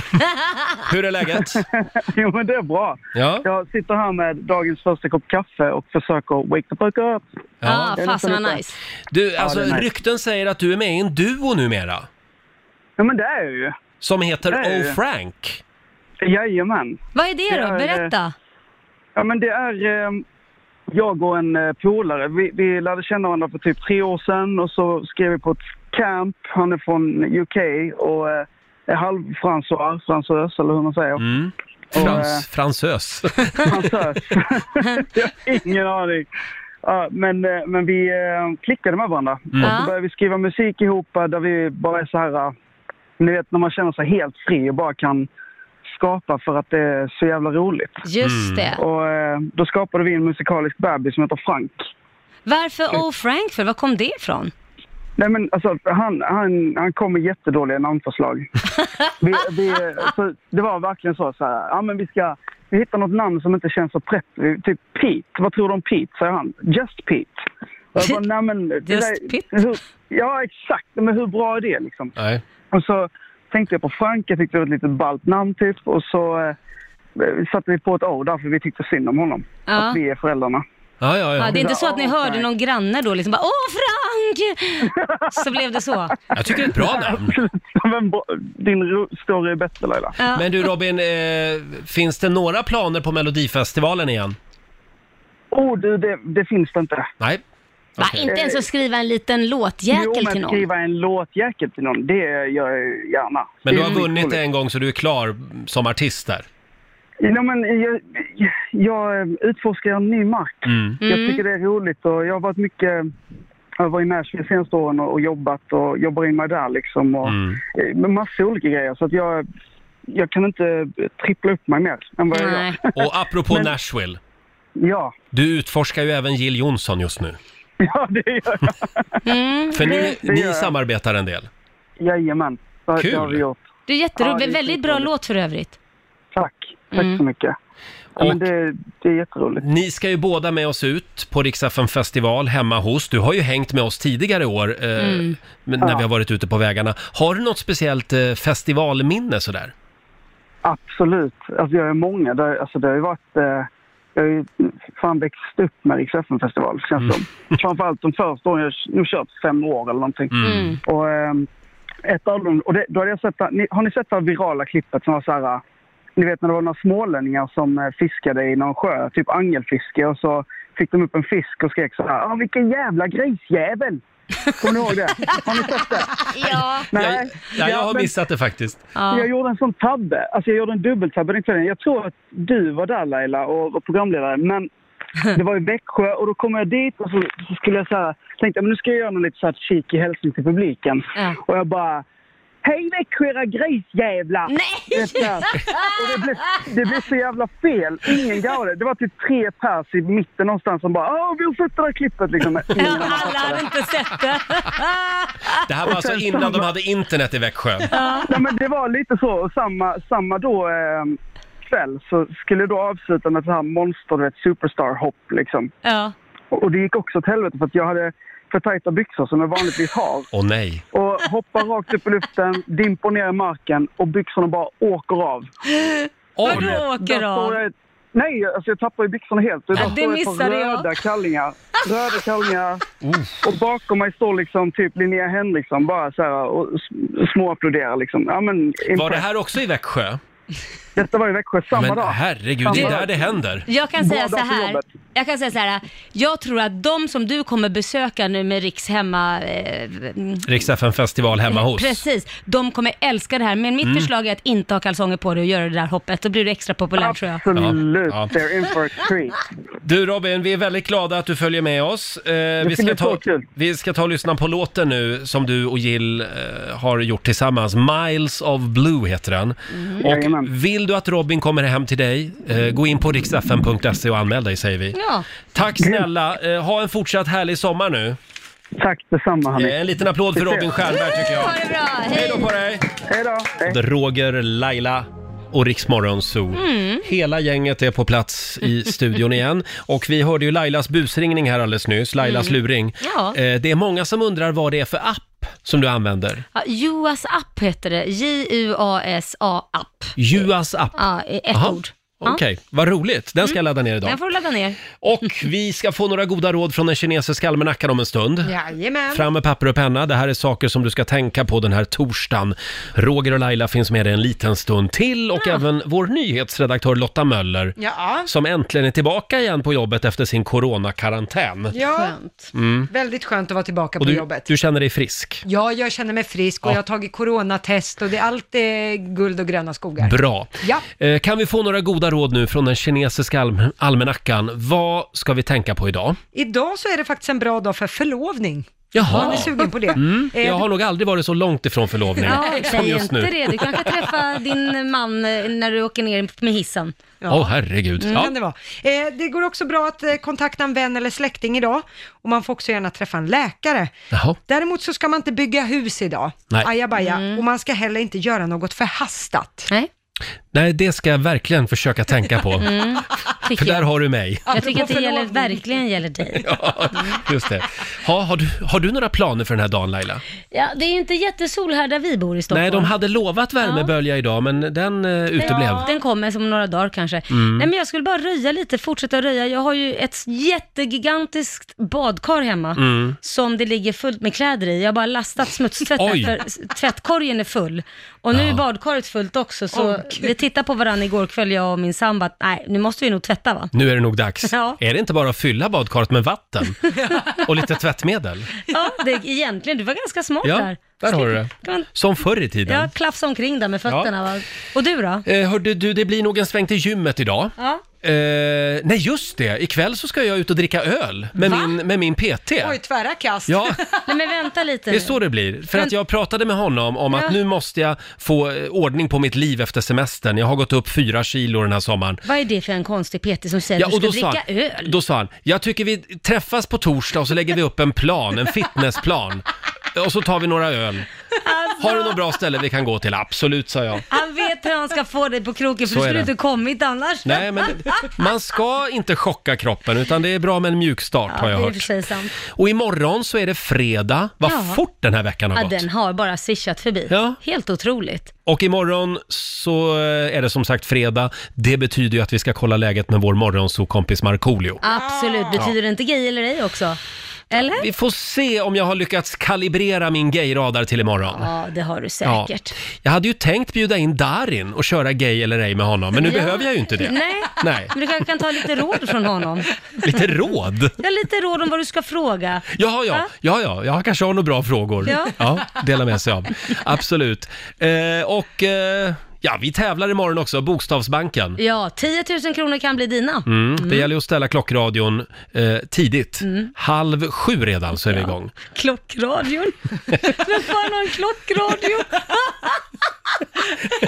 Speaker 1: Hur är läget?
Speaker 15: jo, men det är bra.
Speaker 1: Ja.
Speaker 15: Jag sitter här med dagens första kopp kaffe och försöker wake the fuck up.
Speaker 1: Ja.
Speaker 15: Det är nästan lite-
Speaker 1: Du, alltså
Speaker 15: Ja, det är nice.
Speaker 1: rykten säger att du är med i en duo numera.
Speaker 15: Ja, men det är jag ju.
Speaker 1: Som heter
Speaker 15: Det är jag ju.
Speaker 1: O Frank.
Speaker 15: Jajamän.
Speaker 4: Vad är det då?
Speaker 15: är, eh,
Speaker 4: Berätta.
Speaker 15: Ja, men det är eh, jag och en eh, polare. Vi, vi lärde känna varandra för typ tre år sedan och så skrev vi på ett camp. Han är från UK och eh, är halvfransös, fransös eller hur man säger.
Speaker 1: Mm.
Speaker 15: Och, eh,
Speaker 1: Frans, fransös.
Speaker 15: Ingen aning. Ja, men, eh, men vi eh, klickade med varandra.
Speaker 1: Mm.
Speaker 15: Och
Speaker 1: Ja.
Speaker 15: så började vi skriva musik ihop eh, där vi bara är så här... eh, Ni vet när man känner sig helt fri och bara kan skapa för att det är så jävla roligt.
Speaker 4: Just Mm. det.
Speaker 15: Och eh, då skapade vi en musikalisk bebis som heter Frank.
Speaker 4: Varför O. Frank för? Var kom det ifrån?
Speaker 15: Nej men alltså han, han, han kom med jättedåliga namnförslag. vi, vi, så det var verkligen så, så här, ja men vi ska, vi hittar något namn som inte känns så prätt. Vi- Typ Pete, vad tror du om Pete? säger han. Just Pete. Och jag bara, nej men, det
Speaker 4: Just
Speaker 15: där- Hur, ja exakt, men hur bra är det liksom?
Speaker 1: Nej.
Speaker 15: Och så tänkte jag på Frank, jag tyckte det var ett litet ballt namn typ. Och så eh, satte vi på ett O därför vi tyckte synd om honom.
Speaker 4: Ja.
Speaker 15: Att vi är föräldrarna.
Speaker 1: Ja, ja,
Speaker 4: Ja, det är inte så att ni hörde någon granne då liksom bara Åh Frank! Så blev det så.
Speaker 1: Jag tycker det är ett bra namn.
Speaker 15: Men bra- din ro- story är bättre Laila.
Speaker 1: Men du Robin, eh, finns det några planer på Melodifestivalen igen?
Speaker 15: Oh, du, det, det finns det inte.
Speaker 1: Nej.
Speaker 4: Va, inte ens att skriva en liten låtjäkel
Speaker 15: Jo, men
Speaker 4: till någon?
Speaker 15: skriva en låtjäkel till någon, det gör jag ju gärna.
Speaker 1: Men du
Speaker 15: Det är
Speaker 1: har
Speaker 15: ju
Speaker 1: vunnit
Speaker 15: roligt.
Speaker 1: en gång så du är klar som artist där.
Speaker 15: Ja, men jag, jag utforskar en ny mark.
Speaker 1: Mm.
Speaker 15: Jag tycker det är roligt och jag har varit mycket... Jag var i Nashville senaste åren och, och jobbat och jobbar in mig där liksom. Och, eh,
Speaker 1: Mm.
Speaker 15: Med massa olika grejer. Så att jag, jag kan inte trippla upp mig mer än vad jag gör.
Speaker 1: Och apropå Nashville,
Speaker 15: Ja,
Speaker 1: du utforskar ju även Jill Johnson just nu.
Speaker 15: ja det gör jag.
Speaker 1: För ni,
Speaker 15: Det- det gör
Speaker 1: ni
Speaker 15: jag.
Speaker 1: samarbetar en del.
Speaker 15: Jajamän. Det, har-
Speaker 1: Kul.
Speaker 15: Det har vi gjort.
Speaker 4: Du är jätterolig,
Speaker 15: Ja, det är
Speaker 4: väldigt bra låt för övrigt. Mm.
Speaker 15: Tack, tack så mycket. Ja, men det, det är jätteroligt.
Speaker 1: Ni ska ju båda med oss ut på Riksaffen festival hemma hos. Du har ju hängt med oss tidigare i år eh,
Speaker 4: Mm.
Speaker 1: men när
Speaker 15: Ja.
Speaker 1: vi har varit ute på vägarna. Har du något speciellt eh, festivalminne sådär?
Speaker 15: Absolut. Alltså jag är många. Det, alltså det har ju varit... Eh, jag har ju fan växt upp med Rix festival känns
Speaker 1: Mm.
Speaker 15: det som. Framförallt de första åren. Jag har nog kört fem år eller någonting.
Speaker 3: Mm.
Speaker 15: Och, ehm, ett av dem, och det, då hade jag sett, det- ni, har ni sett det här virala klippet som var så här... eh, Ni vet när det var några smålänningar som eh, fiskade i någon sjö, typ angelfiske. Och så fick de upp en fisk och skrek så här. "Ah, vilken jävla grisjävel! Kommer ni ihåg det? Har ni sett det?
Speaker 4: Ja.
Speaker 15: Nej.
Speaker 1: Ja, jag har
Speaker 15: men-
Speaker 1: missat det faktiskt.
Speaker 15: jag gjorde en sån tabbe. Alltså jag gjorde en dubbeltabbe den kvällen. Jag tror att du var där Laila och var programledare. Men det var i Växjö och då kom jag dit och så, så skulle jag så här, tänkte men nu ska jag göra någon lite så här cheeky hälsning till publiken. Och jag bara Hej Växjö era grisjävlar!
Speaker 3: Nej!
Speaker 15: Vet du vad? Och det, blev, det blev så jävla fel. Ingen garvade. Det var typ tre pers i mitten någonstans som bara Åh, vi har sett det där klippet liksom. Ingen annan
Speaker 4: Alla hade inte sett det.
Speaker 1: Det här var alltså innan de hade internet i Växjö.
Speaker 15: Nej, men det var lite så. Och samma, samma då eh, kväll så skulle jag då avsluta med ett så här monster, du vet, superstar-hopp liksom.
Speaker 4: Ja.
Speaker 15: Och, och det gick också åt helvete för att jag hade för tajta byxor som jag vanligtvis har.
Speaker 1: Åh nej.
Speaker 15: Och hoppar rakt upp i luften, dimper ner i marken och byxorna bara åker av.
Speaker 4: Vadå
Speaker 15: Och du vet,
Speaker 4: åker
Speaker 15: där
Speaker 4: av?
Speaker 15: står jag- Nej, alltså jag tappar ju byxorna helt. Och
Speaker 4: Ja,
Speaker 15: där
Speaker 4: det
Speaker 15: står ett par
Speaker 4: missade jag.
Speaker 15: röda kallingar. Röda kallingar. Och bakom mig står liksom typ Linnea Henriksson bara så här och s- småapploderar liksom. Ja, men,
Speaker 1: Var det
Speaker 15: impressed.
Speaker 1: här också i Växjö?
Speaker 15: Detta var i Växjö samma
Speaker 1: Men
Speaker 15: dag.
Speaker 1: herregud,
Speaker 15: Samma
Speaker 1: det är
Speaker 15: dag.
Speaker 1: där det händer.
Speaker 4: Jag kan säga
Speaker 15: Båda
Speaker 4: så
Speaker 15: på
Speaker 4: här.
Speaker 15: jobbet.
Speaker 4: Jag kan säga så här. Jag tror att de som du kommer besöka nu med Riks hemma... Eh,
Speaker 1: Riks festival hemma hos.
Speaker 4: Precis. De kommer älska det här. Men mitt
Speaker 1: Mm.
Speaker 4: förslag är att inte ha kalsonger på dig och göra det där hoppet. Då blir du extra populär tror jag.
Speaker 15: Absolut,
Speaker 1: Ja.
Speaker 15: they're in for a treat.
Speaker 1: Du Robin, vi är väldigt glada att du följer med oss. Eh, vi,
Speaker 15: ska
Speaker 1: ska
Speaker 15: bli
Speaker 1: ta,
Speaker 15: så kul.
Speaker 1: vi ska ta och lyssna på låten nu som du och Jill eh, har gjort tillsammans. Miles of Blue heter den.
Speaker 15: Mm.
Speaker 1: Och vill du att Robin kommer hem till dig, eh, gå in på riksfn.se E och anmäl dig säger vi.
Speaker 4: Ja.
Speaker 1: Tack snälla, eh, ha en fortsatt härlig sommar nu.
Speaker 15: Tack detsamma Hanif.
Speaker 1: Eh, en liten applåd för
Speaker 15: Vi ses.
Speaker 1: Robin Stjernberg tycker jag.
Speaker 4: Ha det bra. Hej
Speaker 1: då på dig.
Speaker 15: Hej då.
Speaker 1: Roger, Laila och Riksmorgon Zoo.
Speaker 4: Mm.
Speaker 1: Hela gänget är på plats i studion igen. Och vi hörde ju Lailas busringning här alldeles nyss, Lailas
Speaker 4: Mm.
Speaker 1: luring.
Speaker 4: Ja.
Speaker 1: Eh, Det är många som undrar vad det är för app som du använder.
Speaker 4: Ja, Juas app heter det. J-U-A-S-A app.
Speaker 1: Juas app.
Speaker 4: Ja, i ett
Speaker 1: Aha.
Speaker 4: ord. Ja.
Speaker 1: Okej, vad roligt. Den ska jag ladda ner idag.
Speaker 4: Den får du ladda ner.
Speaker 1: Och vi ska få några goda råd från den kinesiska almanackan om en stund.
Speaker 2: Jajamän.
Speaker 1: Fram med papper och penna. Det här är saker som du ska tänka på den här torsdagen. Roger och Laila finns med dig en liten stund till och även vår nyhetsredaktör Lotta Möller
Speaker 2: Ja.
Speaker 1: som äntligen är tillbaka igen på jobbet efter sin coronakarantän.
Speaker 2: Ja.
Speaker 1: Mm.
Speaker 2: Väldigt skönt att vara tillbaka
Speaker 1: Och
Speaker 2: på
Speaker 1: du,
Speaker 2: jobbet.
Speaker 1: du känner dig frisk?
Speaker 2: Ja, jag känner mig frisk och
Speaker 1: Ja.
Speaker 2: jag har tagit coronatest och det, allt är guld och gröna skogar.
Speaker 1: Bra.
Speaker 2: Ja.
Speaker 1: Eh, Kan vi få några goda råd nu från den kinesiska alm- almanackan? Vad ska vi tänka på idag?
Speaker 2: Idag så är det faktiskt en bra dag för förlovning.
Speaker 1: Jaha.
Speaker 2: Om ni är sugen på det.
Speaker 1: Mm.
Speaker 2: Eh,
Speaker 1: Jag har nog aldrig varit så långt ifrån förlovning
Speaker 4: Ja,
Speaker 1: som
Speaker 4: säg
Speaker 1: just
Speaker 4: inte
Speaker 1: nu.
Speaker 4: det. Du kanske träffar din man eh, när du åker ner med hissen.
Speaker 1: Åh, herregud.
Speaker 2: Mm,
Speaker 1: Ja.
Speaker 2: kan det, vara. Eh, det går också bra att eh, kontakta en vän eller släkting idag och man får också gärna träffa en läkare.
Speaker 1: Jaha.
Speaker 2: Däremot så ska man inte bygga hus idag,
Speaker 1: Nej.
Speaker 2: ajabaja, och man ska heller inte göra något förhastat.
Speaker 4: Mm. Nej.
Speaker 1: Nej, det ska jag verkligen försöka tänka på.
Speaker 4: Mm,
Speaker 1: För
Speaker 4: tycker
Speaker 1: där
Speaker 4: jag.
Speaker 1: har du mig.
Speaker 4: Jag tycker att det
Speaker 2: Apropå
Speaker 4: gäller,
Speaker 2: förlovning.
Speaker 4: verkligen gäller dig.
Speaker 1: Ja, just det. Ha, har, du, har du några planer för den här dagen Laila?
Speaker 4: Ja, det är ju inte jättesol här där vi bor i Stockholm.
Speaker 1: Nej, de hade lovat värmebölja idag men den eh, uteblev.
Speaker 4: Ja, Den kommer som några dagar kanske.
Speaker 1: Mm.
Speaker 4: Nej, men jag skulle bara röja lite, fortsätta röja. Jag har ju ett jättegigantiskt badkar hemma
Speaker 1: Mm.
Speaker 4: som det ligger fullt med kläder i. Jag har bara lastat smutstvätten
Speaker 1: Oj.
Speaker 4: för s- tvättkorgen är full. Och nu är badkaret fullt också, så
Speaker 1: Åh,
Speaker 4: vi tittade på varandra igår kväll, jag och min sambo, att nej, nu måste vi nog tvätta va?
Speaker 1: Nu är det nog dags.
Speaker 4: Ja.
Speaker 1: Är det inte bara att fylla badkaret med vatten och lite tvättmedel?
Speaker 4: Ja, det, egentligen, du var ganska smart
Speaker 1: Ja,
Speaker 4: där.
Speaker 1: där har du det.
Speaker 4: Kan man-
Speaker 1: Som förr i
Speaker 4: Ja,
Speaker 1: tiden.
Speaker 4: klafsa omkring där med fötterna
Speaker 1: Ja.
Speaker 4: va? Och du då?
Speaker 1: Eh, hörde du, det blir nog en sväng till gymmet idag.
Speaker 4: Ja.
Speaker 1: Eh, nej, just det. Ikväll så ska jag ut och dricka öl med, min, med min PT.
Speaker 2: Oj, tvära kast.
Speaker 1: Ja.
Speaker 4: Nej men vänta lite
Speaker 1: Det är
Speaker 4: nu.
Speaker 1: så det blir. För att jag pratade med honom om att
Speaker 4: Ja.
Speaker 1: nu måste jag få eh, ordning på mitt liv efter semestern. Jag har gått upp fyra kilo den här sommaren.
Speaker 4: Vad är det för en konstig PT som säger
Speaker 1: Ja,
Speaker 4: att du
Speaker 1: och
Speaker 4: ska
Speaker 1: då sa,
Speaker 4: dricka öl?
Speaker 1: han, då sa han, jag tycker vi träffas på torsdag och så lägger vi upp en plan, en fitnessplan.
Speaker 4: Alltså.
Speaker 1: Och så tar vi några öl. Har du något bra ställe vi kan gå till? Absolut, sa jag.
Speaker 4: Han vet vet hur han ska få dig på kroken för
Speaker 1: Så
Speaker 4: du
Speaker 1: är
Speaker 4: skulle
Speaker 1: det.
Speaker 4: inte kommit annars.
Speaker 1: Nej, men man ska inte chocka kroppen utan det är bra med en mjuk start
Speaker 4: Ja,
Speaker 1: har
Speaker 4: det
Speaker 1: jag
Speaker 4: är i och för
Speaker 1: hört.
Speaker 4: sig sant.
Speaker 1: Och imorgon så är det fredag. Vad
Speaker 4: Ja.
Speaker 1: fort den här veckan har
Speaker 4: Ja,
Speaker 1: gått.
Speaker 4: den har bara swishat förbi. Helt otroligt.
Speaker 1: Och imorgon så eh, är det som sagt fredag. Det betyder ju att vi ska kolla läget med vår morgonsokompis Markoolio.
Speaker 4: Absolut. Betyder det inte gay eller ej också? Eller?
Speaker 1: Vi får se om jag har lyckats kalibrera min gayradar till imorgon.
Speaker 4: Ja, det har du säkert.
Speaker 1: Ja. Jag hade ju tänkt bjuda in Darin och köra gay eller ej med honom, men nu
Speaker 4: Ja.
Speaker 1: behöver jag ju inte det.
Speaker 4: Nej.
Speaker 1: Nej.
Speaker 4: men du kanske kan ta lite råd från honom.
Speaker 1: Lite råd.
Speaker 4: Ja, lite råd om vad du ska fråga.
Speaker 1: Jaha, ja,
Speaker 4: Va?
Speaker 1: ja, ja, jag kanske har några bra frågor.
Speaker 4: Ja.
Speaker 1: dela med sig av. Absolut. Eh, och eh, ja, vi tävlar imorgon också, Bokstavsbanken.
Speaker 4: Ja, 10 000 kronor kan bli dina.
Speaker 1: Mm. Det gäller ju att ställa klockradion eh, tidigt.
Speaker 4: Mm.
Speaker 1: Halv sju redan så är vi igång.
Speaker 4: Klockradion. Vem fan har en klockradio?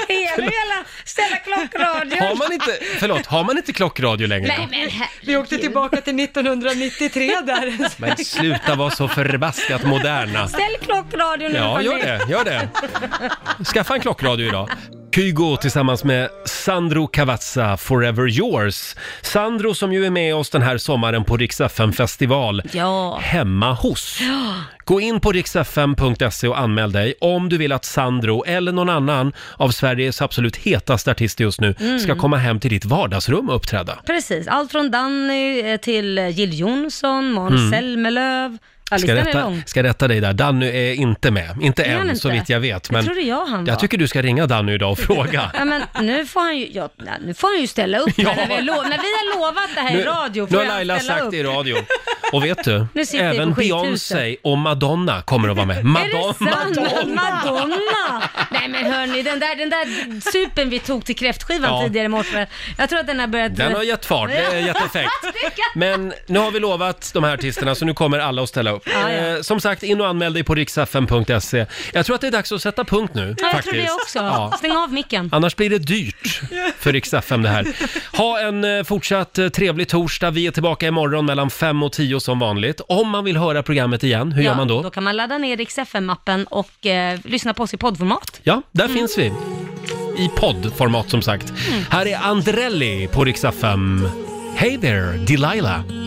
Speaker 4: Hela, hela, ställa klockradion.
Speaker 1: Har man inte, förlåt, har man inte klockradio längre?
Speaker 4: Nej, men herregud.
Speaker 2: Vi åkte tillbaka till 1993 där.
Speaker 1: Men sluta vara så förbaskat moderna.
Speaker 4: Ställ klockradion nu
Speaker 1: Ja,
Speaker 4: fan
Speaker 1: gör det, gör det. Skaffa en klockradio idag. Kygo tillsammans med Sandro Cavazza, Forever Yours. Sandro som ju är med oss den här sommaren på Rix FM festival
Speaker 4: Ja.
Speaker 1: hemma hos.
Speaker 4: Ja.
Speaker 1: Gå in på riksfm.se och anmäl dig om du vill att Sandro eller någon annan av Sveriges absolut hetaste artister just nu
Speaker 4: Mm.
Speaker 1: ska komma hem till ditt vardagsrum och uppträda.
Speaker 4: Precis, allt från Danny eh, till Jill Johnson, Måns
Speaker 1: Mm.
Speaker 4: Zelmerlöw. Ja,
Speaker 1: Ska
Speaker 4: listan är
Speaker 1: rätta,
Speaker 4: lång.
Speaker 1: ska rätta dig där, Danny är inte med. Inte
Speaker 4: Är han
Speaker 1: än
Speaker 4: inte?
Speaker 1: så vitt jag vet.
Speaker 4: Jag trodde jag han var.
Speaker 1: jag tycker du ska ringa Danny idag och fråga.
Speaker 4: Ja, men nu får han ju, ja, nej, nu får han ju ställa upp
Speaker 1: Ja.
Speaker 4: när, vi har lo- när vi har lovat det här i Äh, radio.
Speaker 1: nu
Speaker 4: Får
Speaker 1: har
Speaker 4: han
Speaker 1: Laila
Speaker 4: ställa
Speaker 1: sagt
Speaker 4: upp.
Speaker 1: det i radio. Och vet du,
Speaker 4: Nu sitter jag
Speaker 1: även
Speaker 4: på sjukhuset.
Speaker 1: Beyoncé och Madonna kommer att vara med. Madonna,
Speaker 4: är det sant?
Speaker 1: Madonna!
Speaker 4: Madonna! Nej men hörni, den där, den där supen vi tog till kräftskivan
Speaker 1: Ja.
Speaker 4: tidigare i morse, jag tror att den har börjat...
Speaker 1: Den har gett fart, det är jätteeffekt. Men nu har vi lovat de här artisterna så nu kommer alla att ställa upp.
Speaker 4: Ja, ja.
Speaker 1: Eh, som sagt, in och anmäl dig på riksfm.se. Jag tror att det är dags att sätta punkt nu.
Speaker 4: Ja, jag
Speaker 1: faktiskt.
Speaker 4: tror det också.
Speaker 1: Ja.
Speaker 4: Stäng av micken.
Speaker 1: Annars blir det dyrt för Rix FM det här. Ha en eh, fortsatt eh, trevlig torsdag. Vi är tillbaka imorgon mellan 5 och 10 som vanligt. Om man vill höra programmet igen, hur
Speaker 4: ja,
Speaker 1: gör man då?
Speaker 4: Då kan man ladda ner Rix FM-appen och eh, lyssna på oss i poddformat.
Speaker 1: Ja, där finns vi. I poddformat som sagt. Här är Andrelli på Rix FM. Hey there, Delilah.